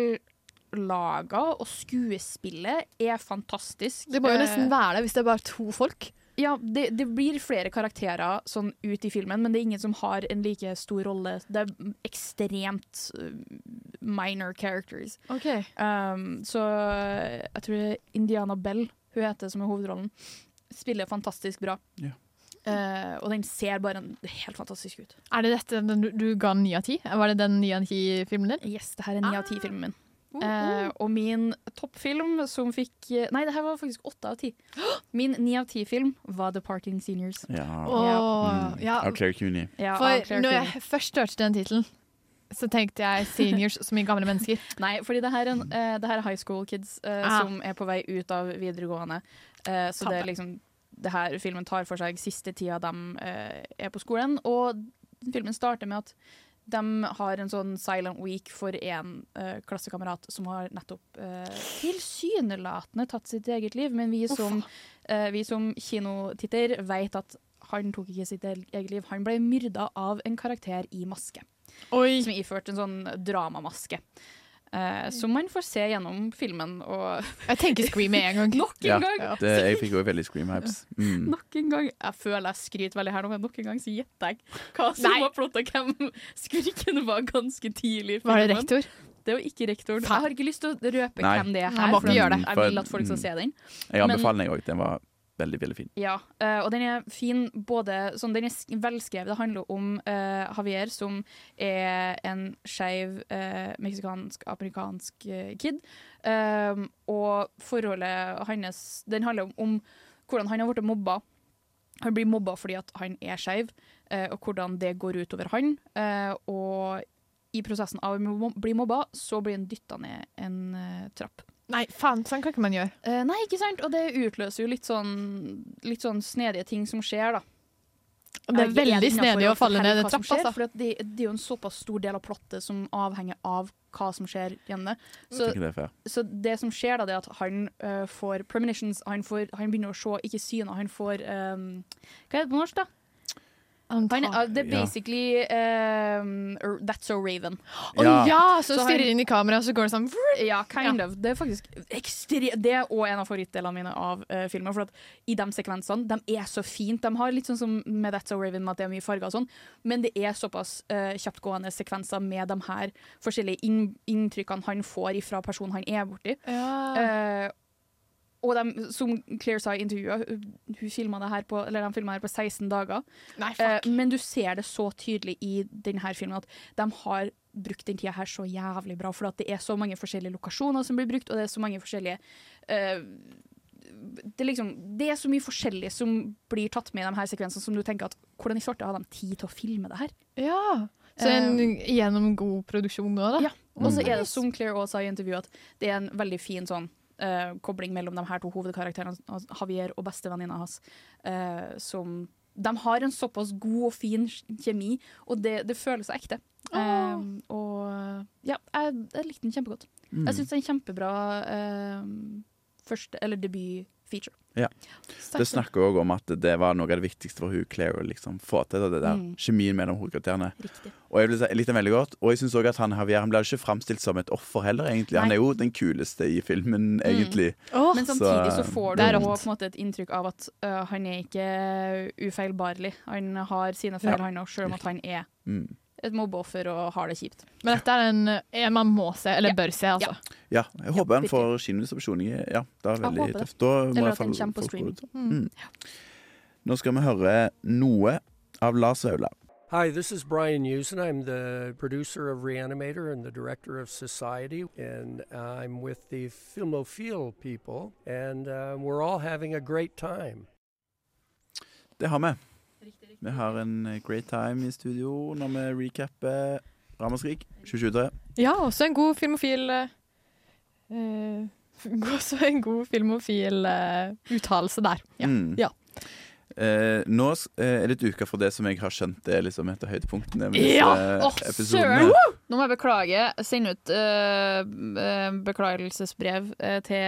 laga, og skuespillet er fantastisk. Det må jo nesten Eh, være det hvis det er bare to folk. ja, det, det blir flere karakterer sånn ut i filmen, men det er ingen som har en like stor rolle. Det er ekstremt uh, minor characters. Um, så jeg tror det er Indiana Bell hun heter som er hovedrollen. Spiller fantastisk bra. Ja. Eh, og den ser bare en, helt fantastisk ut. Er det dette den du, du ga ni av ti? Var det den ni av ti-filmen din? Yes, det her er ni av ti-filmen min. Eh, og min toppfilm som fikk eh, Nei, det her var faktisk åtte av ti. Min ni av ti-film var The Parting Seniors. Mm. Ja. Mm. Åh, ja. Av Claire Cooney. Ja, av For Claire når Cooney. jeg først hørte den tittelen, så tenkte jeg seniors som i gamle mennesker. Nei, fordi det her er, en, eh, det her er high school kids eh, Ah. som er på vei ut av videregående. Eh, så det er liksom det her filmen tar for seg siste tida de eh, er på skolen. Og filmen starter med at de har en sånn silent week for en eh, klassekamerat som har nettopp eh, tilsynelatende tatt sitt eget liv, men vi Å, som, faen. eh, vi som kinotitter vet at han tok ikke sitt e- eget liv. Han ble myrda av en karakter i maske. Som iførte en sånn dramamaske. Eh, som man får se gjennom filmen. Og Jeg tenker Scream med en gang. Nok en Ja, gang! det, jeg fikk òg veldig scream-hypes. Mm. Nok en gang. Jeg føler jeg skryter veldig her nå, men nok en gang så gjetter jeg hva som Nei. var plotta hvem skurken var ganske tidlig. i Var det filmen. rektor? Det var ikke rektoren. Jeg har ikke lyst til å røpe Nei. hvem det er Nei, her. må for ikke jeg- gjøre det. Jeg For- vil at folk skal mm. se den. Jeg Men- anbefaler den, jeg òg. Den var veldig, veldig fin. Ja, eh, og den er fin både sånn, Den er sk- velskrevet. Det handler om eh, Javier, som er en skeiv eh, meksikansk-amerikansk eh, kid. Um, og forholdet hans Den handler om, om hvordan han har blitt mobba. Han blir mobba fordi at han er skeiv, eh, og hvordan det går ut over han. Eh, og i prosessen av å mob- bli mobba, så blir han dytta ned en eh, trapp. Nei, faen, sånn kan ikke man gjøre. Eh, nei, ikke sant? Og det utløser jo litt sånn, litt sånn snedige ting som skjer, da. Og det er Jeg ikke veldig innenfor snedig å falle fortelle ned hva en som trapp, skjer, altså. For at det, det er jo en såpass stor del av plottet som avhenger av hva som skjer gjennom det. Så Jeg tenker det er fair. så det som skjer da, det er at han eh, får premonitions, han, får, han begynner å se, ikke syner, han får ehm, Hva er det på norsk, da? Han, er- det er Ja. basically ehm, r- That's so Raven. Å ja, så, han- stirrer inn i kameraet, så går det sånn Ja, kind of. Det er faktisk ekstre Det er også en av favorittdelene mine av eh, filmen. For at i de sekvensene, de er så fint. De har litt sånn som med That's So Raven, med at det er mye farger og sånn, men det er såpass eh, kjapptgående sekvenser med de her forskjellige inn inntrykkene han får ifra personen han er borti. Eh, og de, som Claire sa i intervjuet, hun, hun filma det her på, eller de filma her på 16 dager. Nei, Eh, men du ser det så tydelig i denne filmen at de har brukt den tida her så jævlig bra. For at det er så mange forskjellige lokasjoner som blir brukt, og det er så mange forskjellige eh, det, er liksom, det er så mye forskjellig som blir tatt med i de her sekvensene som du tenker at hvordan i svarte har de tid til å filme det her? Eh, Ja. Så en gjennom god produksjon nå, da. Ja. Og Mm. så er det som Claire også sa i intervjuet, at det er en veldig fin sånn eh, kobling mellom de her to hovedkarakterene, altså Javier og bestevenninna hans, eh, som De har en såpass god og fin kjemi, og det, det føles ekte. Eh, og eh, ja, jeg, jeg likte den kjempegodt. Mm. Jeg syns det er en kjempebra eh, første, eller debut-feature. Ja. Mm. Det snakker òg om at det var noe av det viktigste for hun Claire å liksom få til. da, Det der Mm. Kjemien mellom hovedkarakterene. Riktig. Og jeg vil si- jeg likte den veldig godt. Og jeg synes også at han Javier han blir ikke framstilt som et offer heller, egentlig. Han Nei. er jo den kuleste i Mm. filmen, egentlig. Men samtidig så får du det også er rått. på en måte et inntrykk av at øh, han er ikke ufeilbarlig. Han har sine feil, Ja. han òg, selv om at han er Mm. et mobbeoffer og har det kjipt. Men dette er en, en man må se, eller bør se, altså. Ja, jeg håper han får kinodistribusjon. i- Ja, det er veldig håper det. tøft. Da må Eller i hvert at den fall kommer på folk gå streaming. ut. Mm. Nå skal vi høre noe av Lars Vaular. Hi, this is Brian Usen. I'm the producer of Reanimator and the director of Society, and I'm with the Filmophile people, and uh, we're all having a great time. Det har vi. Vi har en eh, great time i studio når vi recapper Ramaskrik 2023. Ja, også en god filmofil eh, Også en god filmofil eh, uttalelse der. Ja. Mm. ja. Eh, nå s- eh, er det et uke for det som jeg har skjønt er liksom et av høydepunktene. med disse Ja! Åh, episodene. søren! Nå må jeg beklage. Send ut eh, eh, beklagelsesbrev eh, til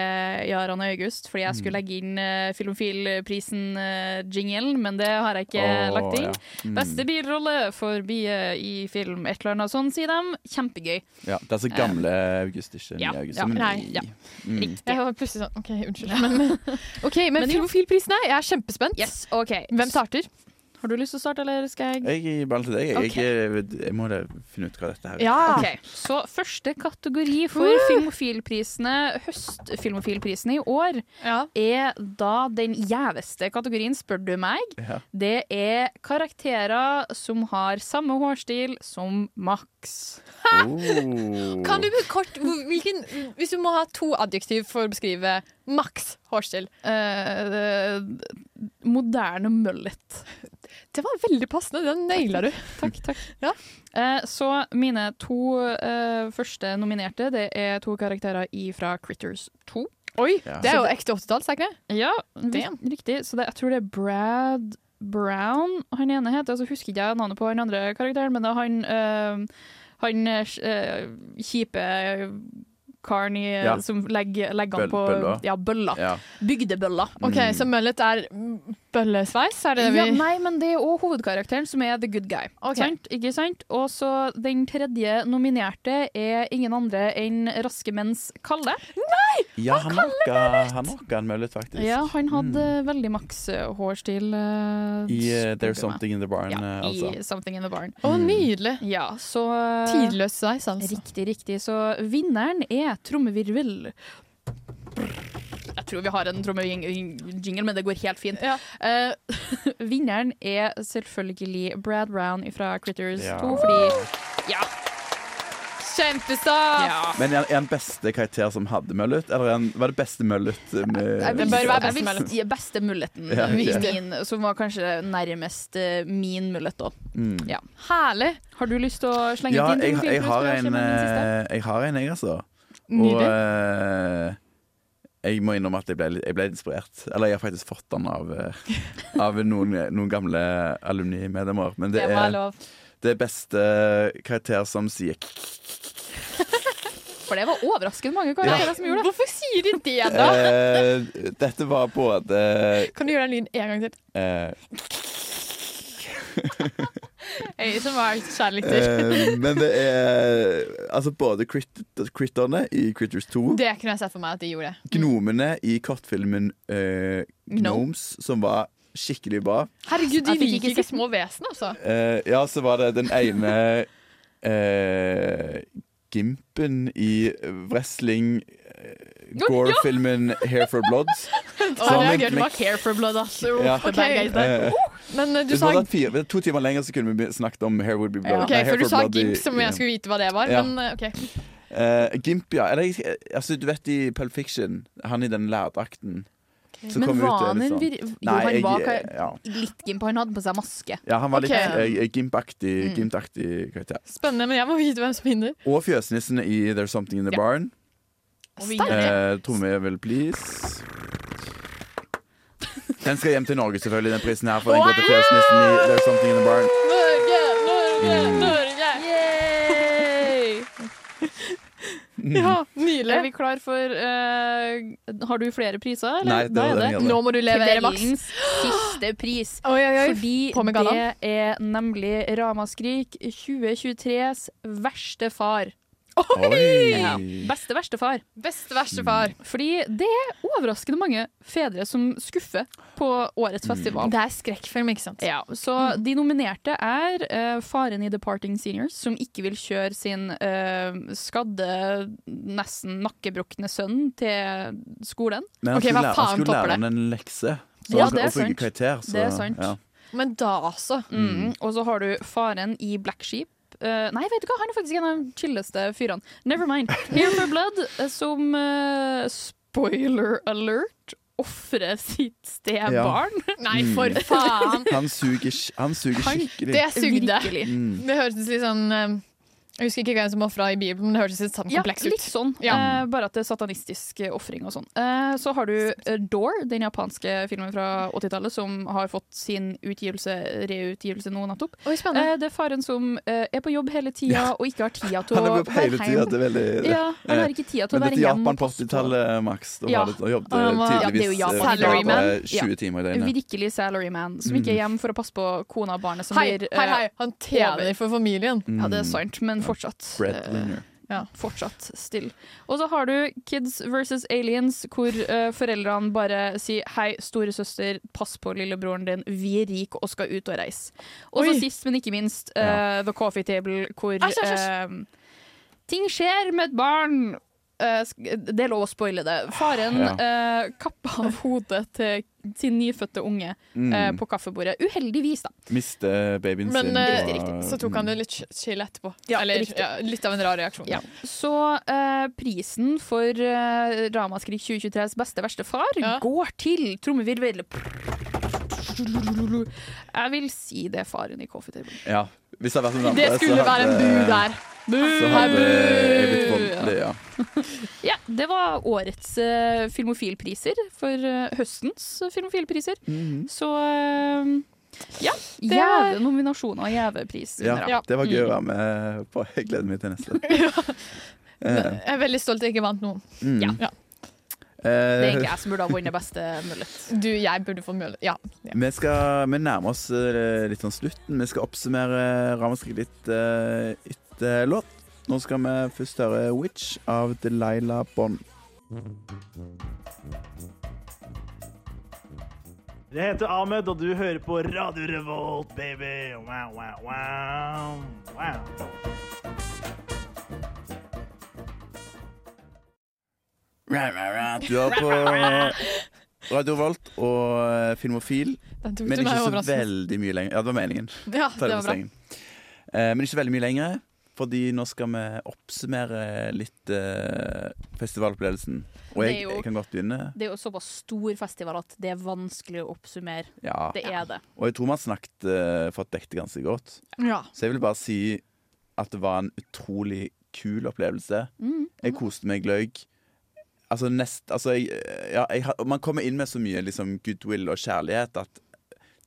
Jaran og August, fordi jeg skulle legge inn eh, Filmofilprisen-jingelen, men det har jeg ikke Åh, lagt inn. ja. Mm. Beste bilrolle for bie i film, et eller annet sånn, sier de. Kjempegøy. Ja, det er så gamle August, ikke nye Eh, ja, August. ja, men- nei, ja. Mm. Jeg var plutselig sånn OK, unnskyld. Men, ok, men, Men jo. filmofilprisen er jeg er kjempespent. Hvem starter? Har du lyst til å starte, eller skal jeg Jeg gir ballen til deg. Jeg, jeg, jeg må da finne ut hva dette her er. Ok, Så første kategori for filmofilprisene, høstfilmofilprisene i år, er da den gjeveste kategorien, spør du meg. Ja. Det er karakterer som har samme hårstil som Max. Oh. Kan du med kort hvor- hvilken, Hvis du må ha to adjektiv for å beskrive maks hårstil Eh, Moderne møllet. Det var veldig passende. Den naila du. Takk, takk. Eh, Så mine to eh, første nominerte, det er to karakterer ifra Critters 2. Oi, Ja. Det er Så jo det- ekte 80-tall, sa jeg ikke det? Ja, Damn. ri- riktig. Så det, jeg tror det er Brad Brown han ene heter. Så husker ikke jeg navnet på han andre karakteren, men det er han øh, Han øh, sj- øh, kjipe karen i Ja. som legger, legger han Bøll- på bølla. Ja, bølla. Ja. Bygdebølla. OK, så møllet er mm, bøllesveis? Er det det vi Ja, nei, men det er òg hovedkarakteren som er the good guy. Sant? Ikke sant? Og så den tredje nominerte er ingen andre enn Raske menns Kalle. Nei! Ja, han knokka han, knokka en møllet, faktisk. Ja, han hadde veldig maks eh, hårstil. eh, Mm. I eh, spurte meg. There's Something In The Barn, eh, altså. I Something in the Barn. Å, Mm. nydelig. Ja, så Tidløs sveis, altså. Riktig, riktig. Så vinneren er trommevirvel. Jeg tror vi har en trommejingle, men det går helt fint. Eh, vinneren er selvfølgelig Brad Brown fra Critters Ja. 2, fordi Ja! Kjempestas! Ja. Men er er han beste karakter som hadde møllet, eller er han, var det beste møllet? Med, Jeg vil- jeg vil si Beste muligheten. Ja, ok. Min, som var kanskje nærmest eh, min mulighet, da. Mm. Ja. Herlig! Har du lyst til å slenge Ja, din jeg, trommevirvel? jeg har Kanskje en, med min siste? eh, jeg, har en, jeg altså. Og Nydelig. eh, jeg må innrømme at jeg ble, litt- jeg ble inspirert. Eller jeg har faktisk fått den av, eh, av noen, noen gamle alumni-medlemmer. Men det Det må være er lov. det er beste karakter som sier For det var overraskende mange karakterer Ja. som gjorde det. Hvorfor sier de det, da? eh, Dette var både Kan du gjøre den lyden en gang til? eh, eh, kjærligheter. eh, Men det er altså både crit critterne i Critters 2 Det kunne jeg sett for meg at de gjorde. Gnomene i kortfilmen eh, Gnomes, som var skikkelig bra. Herregud, de Jeg fikk liker ikke ikke små vesen, altså. Eh, ja, så var det den ene eh, gimpen i wrestling eh, Gore-filmen Hair for Blood. Å, jeg Som en reagerte knekk- bare care for blood, ass. Uff, Ja. the bad guys der. Eh, Men eh, du hvis vi sa hadde hatt fire, to timer lenger så kunne vi be- snakket om Hair Would Be Blood. Ja. Ok, Nei, Hair for du for sa Blood i- gimp som om i- jeg skulle vite hva det var. Ja. Men eh, ok. Eh, Gimp, ja. Eller, jeg- altså, du vet i Pulp Fiction, han i den lærdrakten. som Men kommer ut, var er han litt en sånn- vir... Jo, Nei, han jeg- var ja. ka- litt gimp, han hadde på seg maske. Ja, han var litt Ok. eh, Gimp-aktig Mm. gimp karakter. Spennende, men jeg må vite hvem som vinner. Og fjøsnissene i There's Something In The Ja. Barn. Sterk. Eh, Trommevel, please. Den skal hjem til Norge, selvfølgelig, den prisen her. For den går til fjøsnissen i There's Something In The Barn. Norge, Norge, Mm. Norge! Mm. Ja, nydelig. Er vi klar for eh, Har du flere priser? Eller? Nei, det Da var er den jeg hadde. Nå må du levere, Max. Kveldens siste pris. oi. På Fordi med det gallaen. er nemlig Ramaskrik 2023s verste far. Oi! Ja. Beste verste far. Beste verste far. Mm. Fordi det er overraskende mange fedre som skuffer på årets Mm. festival. Det er skrekkfilm, ikke sant? Ja, så De nominerte er eh, faren i Departing Seniors, som ikke vil kjøre sin eh, skadde, nesten nakkebrukne sønn til skolen. Men han skulle lære, han skulle lære han en lekse. Så Ja, han det skal er oppbygge sant. karakter. Så, Det er sant. Ja. Men da altså. Mm. Og så har du faren i Black Sheep. Eh, nei, vet du hva, han er faktisk en av de chilleste fyrene. Never mind. Here for Blood, eh, som eh, spoiler alert ofrer sitt stebarn. Nei, for Mm. faen! Han suger, sk- han suger Han- skikkelig. Det sugde. Virkelig. Mm. Det hørtes litt sånn eh, Jeg husker ikke hvem som ofra i Bibelen, men det hørtes litt sånn Ja, kompleks ut. litt sånn. Ja. Eh, bare at det er satanistisk eh, ofring og sånn. Eh, så har du eh, Door, den japanske filmen fra 80-tallet som har fått sin utgivelse, reutgivelse nå nettopp. Eh, det er faren som eh, er på jobb hele tida Ja. og ikke har tida til å Han er på hele være tida hjemme. til veldig Ja, han har Eh, ikke tida til å Men være dette er hjemme. Japan på 80-tallet, Max. Da Ja. var det, da jobbet Han var- Ja, det er jo tydeligvis eh, Japan. bare Salaryman. 20 timer i døgnet. Virkelig salaryman, som Mm. ikke er hjemme for å passe på kona og barnet. Som Hei, blir, eh, hei, hei! Han tjener for familien. Mm. Ja, det er sant, men fortsatt. eh, Breadwinner. Ja, fortsatt still. Og så har du Kids versus Aliens, hvor eh, foreldrene bare sier 'hei, storesøster, pass på lillebroren din, vi er rik og skal ut og reise'. Og så Oi. sist, men ikke minst, eh, The Coffee Table, hvor Æsj, æsj, æsj. eh, ting skjer med et barn. Eh, sk- det er lov å spoile det. Faren Ja. eh, kappa av hodet til sin nyfødte unge Mm. eh, på kaffebordet. Uheldigvis, da. Miste babyen sin. Men eh, og- så tok han det litt chill etterpå. Eller riktig. ja, litt av en rar reaksjon. Ja. Så eh, prisen for eh, Ramaskrik 2023s beste verste far går til trommevirvel. Jeg vil si det er faren i Coffee Table. Ja. Hvis det hadde vært noen andre, Det skulle så være en hadde- bu der. Bu! Så hadde jeg blitt Bu! voldelig, ja. Ja, det var årets eh, filmofilpriser for eh, høstens filmofilpriser. Så eh, ja. er- Gjeve nominasjoner og gjeve pris. ja. Det var Mm. gøy å være med på. Jeg gleder meg til neste. Eh, Jeg er veldig stolt jeg ikke vant noen. mm. Ja. Det er Eh, egentlig jeg som burde ha vunnet beste mullet. Du, jeg burde få mulighet. Ja. ja. Vi, skal, vi nærmer oss eh, litt sånn slutten. Vi skal oppsummere Ramaskrik litt eh, etter låt. Nå skal vi først høre 'Witch' av Delilah Bond. Jeg heter Ahmed, og du hører på Radio Revolt, baby! Wow, wow, wow. wow. Rah, rah, rah. Du er på Radio Volt og eh, Filmofil, Den tok men du meg ikke så overraskende. veldig mye lenger. Ja, det var meningen. Ja, det Ta på var bra. slengen. Eh, Men ikke så veldig mye lenger, fordi nå skal vi oppsummere litt eh, festivalopplevelsen. Og Det jeg, er jo- jeg kan godt begynne. Det er jo såpass stor festival at det er vanskelig å oppsummere. Ja. Det er det. Og jeg tror vi har snakket eh, fått dekket det ganske godt. Ja. Så jeg vil bare si at det var en utrolig kul opplevelse. Mm. Jeg koste meg gløgg. Altså, nest, altså jeg, ja, jeg, har- Man kommer inn med så mye liksom, goodwill og kjærlighet at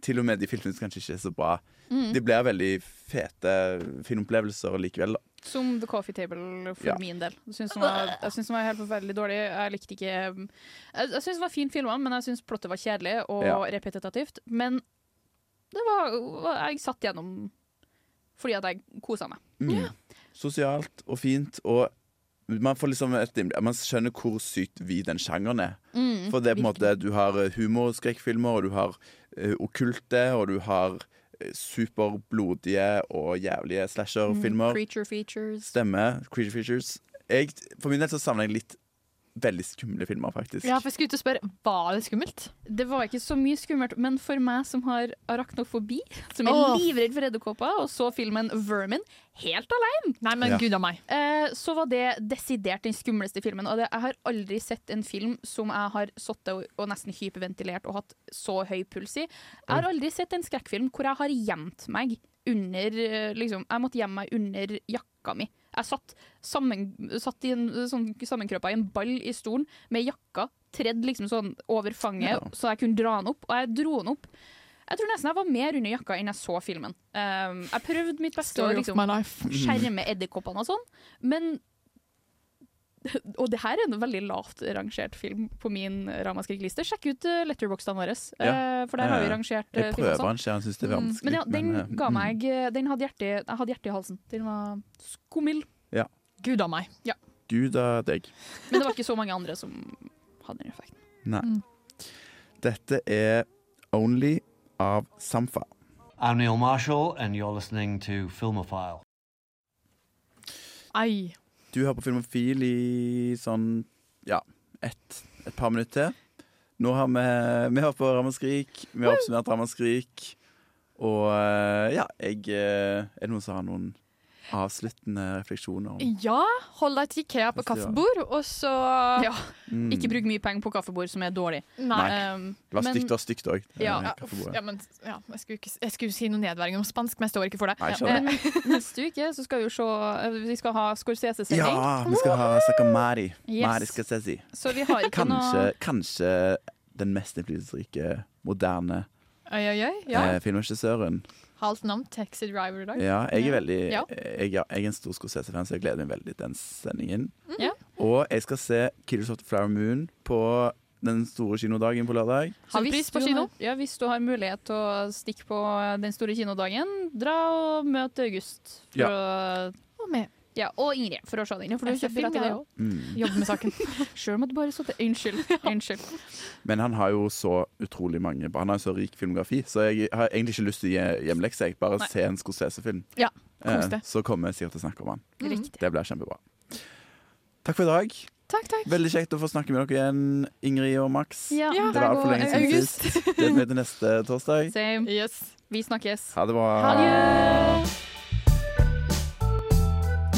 til og med de filmene som kanskje ikke er så bra, Mm. de blir veldig fete filmopplevelser likevel. da. Som The Coffee Table for Ja. min del. Jeg syns den var, jeg synes den var helt forferdelig dårlig. Jeg likte ikke Jeg, jeg syns den var fin filma, men jeg syns plottet var kjedelig og Ja. repetitivt. Men det var Jeg satt gjennom fordi at jeg kosa meg. Mm. Sosialt og fint. Og man, får liksom et, innblikk- man skjønner hvor sykt vid den sjangeren er. Mm, For det er på en måte du har eh, humorskrekkfilmer, og du har eh, okkulte, og du har eh, superblodige og jævlige slasherfilmer. Creature features. Stemmer. Creature Features. Jeg, for min del så savner jeg litt veldig skumle filmer, faktisk. Ja, for jeg skulle ut og spørre Var det skummelt? Det var ikke så mye skummelt, men for meg som har arachnofobi, som er Åh. livredd for edderkopper, og så filmen Vermin helt alene, Nei, men Ja. gud av meg. Eh, så var det desidert den skumleste filmen. Og det, jeg har aldri sett en film som jeg har sittet og, og nesten hyperventilert og hatt så høy puls i. Jeg har aldri sett en skrekkfilm hvor jeg har gjemt meg under eh, liksom, Jeg måtte gjemme meg under jakka mi. Jeg satt, sammen, satt i en, sånn, sammenkrøpa i en ball i stolen med jakka tredd liksom sånn over fanget, så jeg kunne dra den opp. Og jeg dro den opp. Jeg tror nesten jeg var mer under jakka enn jeg så filmen. Um, jeg prøvde mitt beste å Story of liksom, my life. Mm. skjerme edderkoppene og sånn, men og det her er en veldig lavt rangert film på min Ramaskrik-liste. Sjekk ut eh, letterboxene våre, eh, Ja. for der har vi Eh, rangert eh, Jeg film prøver også. den ikke, jeg syns det er Mm. vanskelig. Men ja, den men, eh, ga mm. meg eh, Den hadde hjerte, jeg hadde hjerte i halsen. Den var skummel. Ja. Gud av meg. Ja. Gud av mm, deg. Men det var ikke så mange andre som hadde den effekten. Nei. Mm. Dette er Only av Samfa. I'm Neil Marshall, and you're listening to Filmophile. Ei. Du hører på Filmofil i sånn ja, et, et par minutter til. Nå har vi Vi har på Ramaskrik, vi har oppsummert Ramaskrik, Og eh, ja, jeg eh, Er det noen som har noen avsluttende refleksjoner? om Ja, hold deg til IKEA på Hvis det var- kaffebord, og så Ja. Mm. Ikke bruk mye penger på kaffebord som er dårlig. Nei. Um, Det var men- stygt og stygt òg. Ja, ja, uff, ja, men ja, jeg, skulle ikke, jeg skulle si noe nedverdigende om spansk, men jeg står ikke for det. Nei, Eh, skjønner. Neste uke så skal vi jo se eh, Vi skal ha Scorsese-sending. Ja, vi skal ha Sakamari. Yes. Mari skal jeg si. Så vi har ikke Kanskje, noe kanskje den mest innflytelsesrike moderne Oi, oi, oi. Ja. eh, filmregissøren. Halvt navn, taxi driver i dag. Ja, jeg er veldig eh, Ja. Jeg, ja, jeg er en stor Scorsese-fan, så jeg gleder meg veldig til den sendingen. Ja. Og jeg skal se 'Killers of the Flower Moon' på den store kinodagen på lørdag. Så Halv hvis pris på du kino. har- Ja, hvis du har mulighet til å stikke på eh, den store kinodagen, dra og møt August. For Ja. å, og meg. Ja, og Ingrid, for å se den. For du Jeg ser kjøper film, billett til jeg det også. også. Mm. Jobbe med saken. Sjøl måtte bare sitte Unnskyld. Unnskyld. Men han har jo så utrolig mange Han har jo så rik filmografi, så jeg har egentlig ikke lyst til å gi hjemlekse. Jeg bare Nei. se en Scorsese-film. Ja, kos deg. Eh, så kommer jeg sikkert til å snakke om han. Mm. Riktig. Det blir kjempebra. Takk for i dag. Takk, takk. Veldig kjekt å få snakke med dere igjen, Ingrid og Max. Ja, det var altfor lenge siden August. sist. Gleder meg til neste torsdag. Same. Vi snakkes. Ha det bra.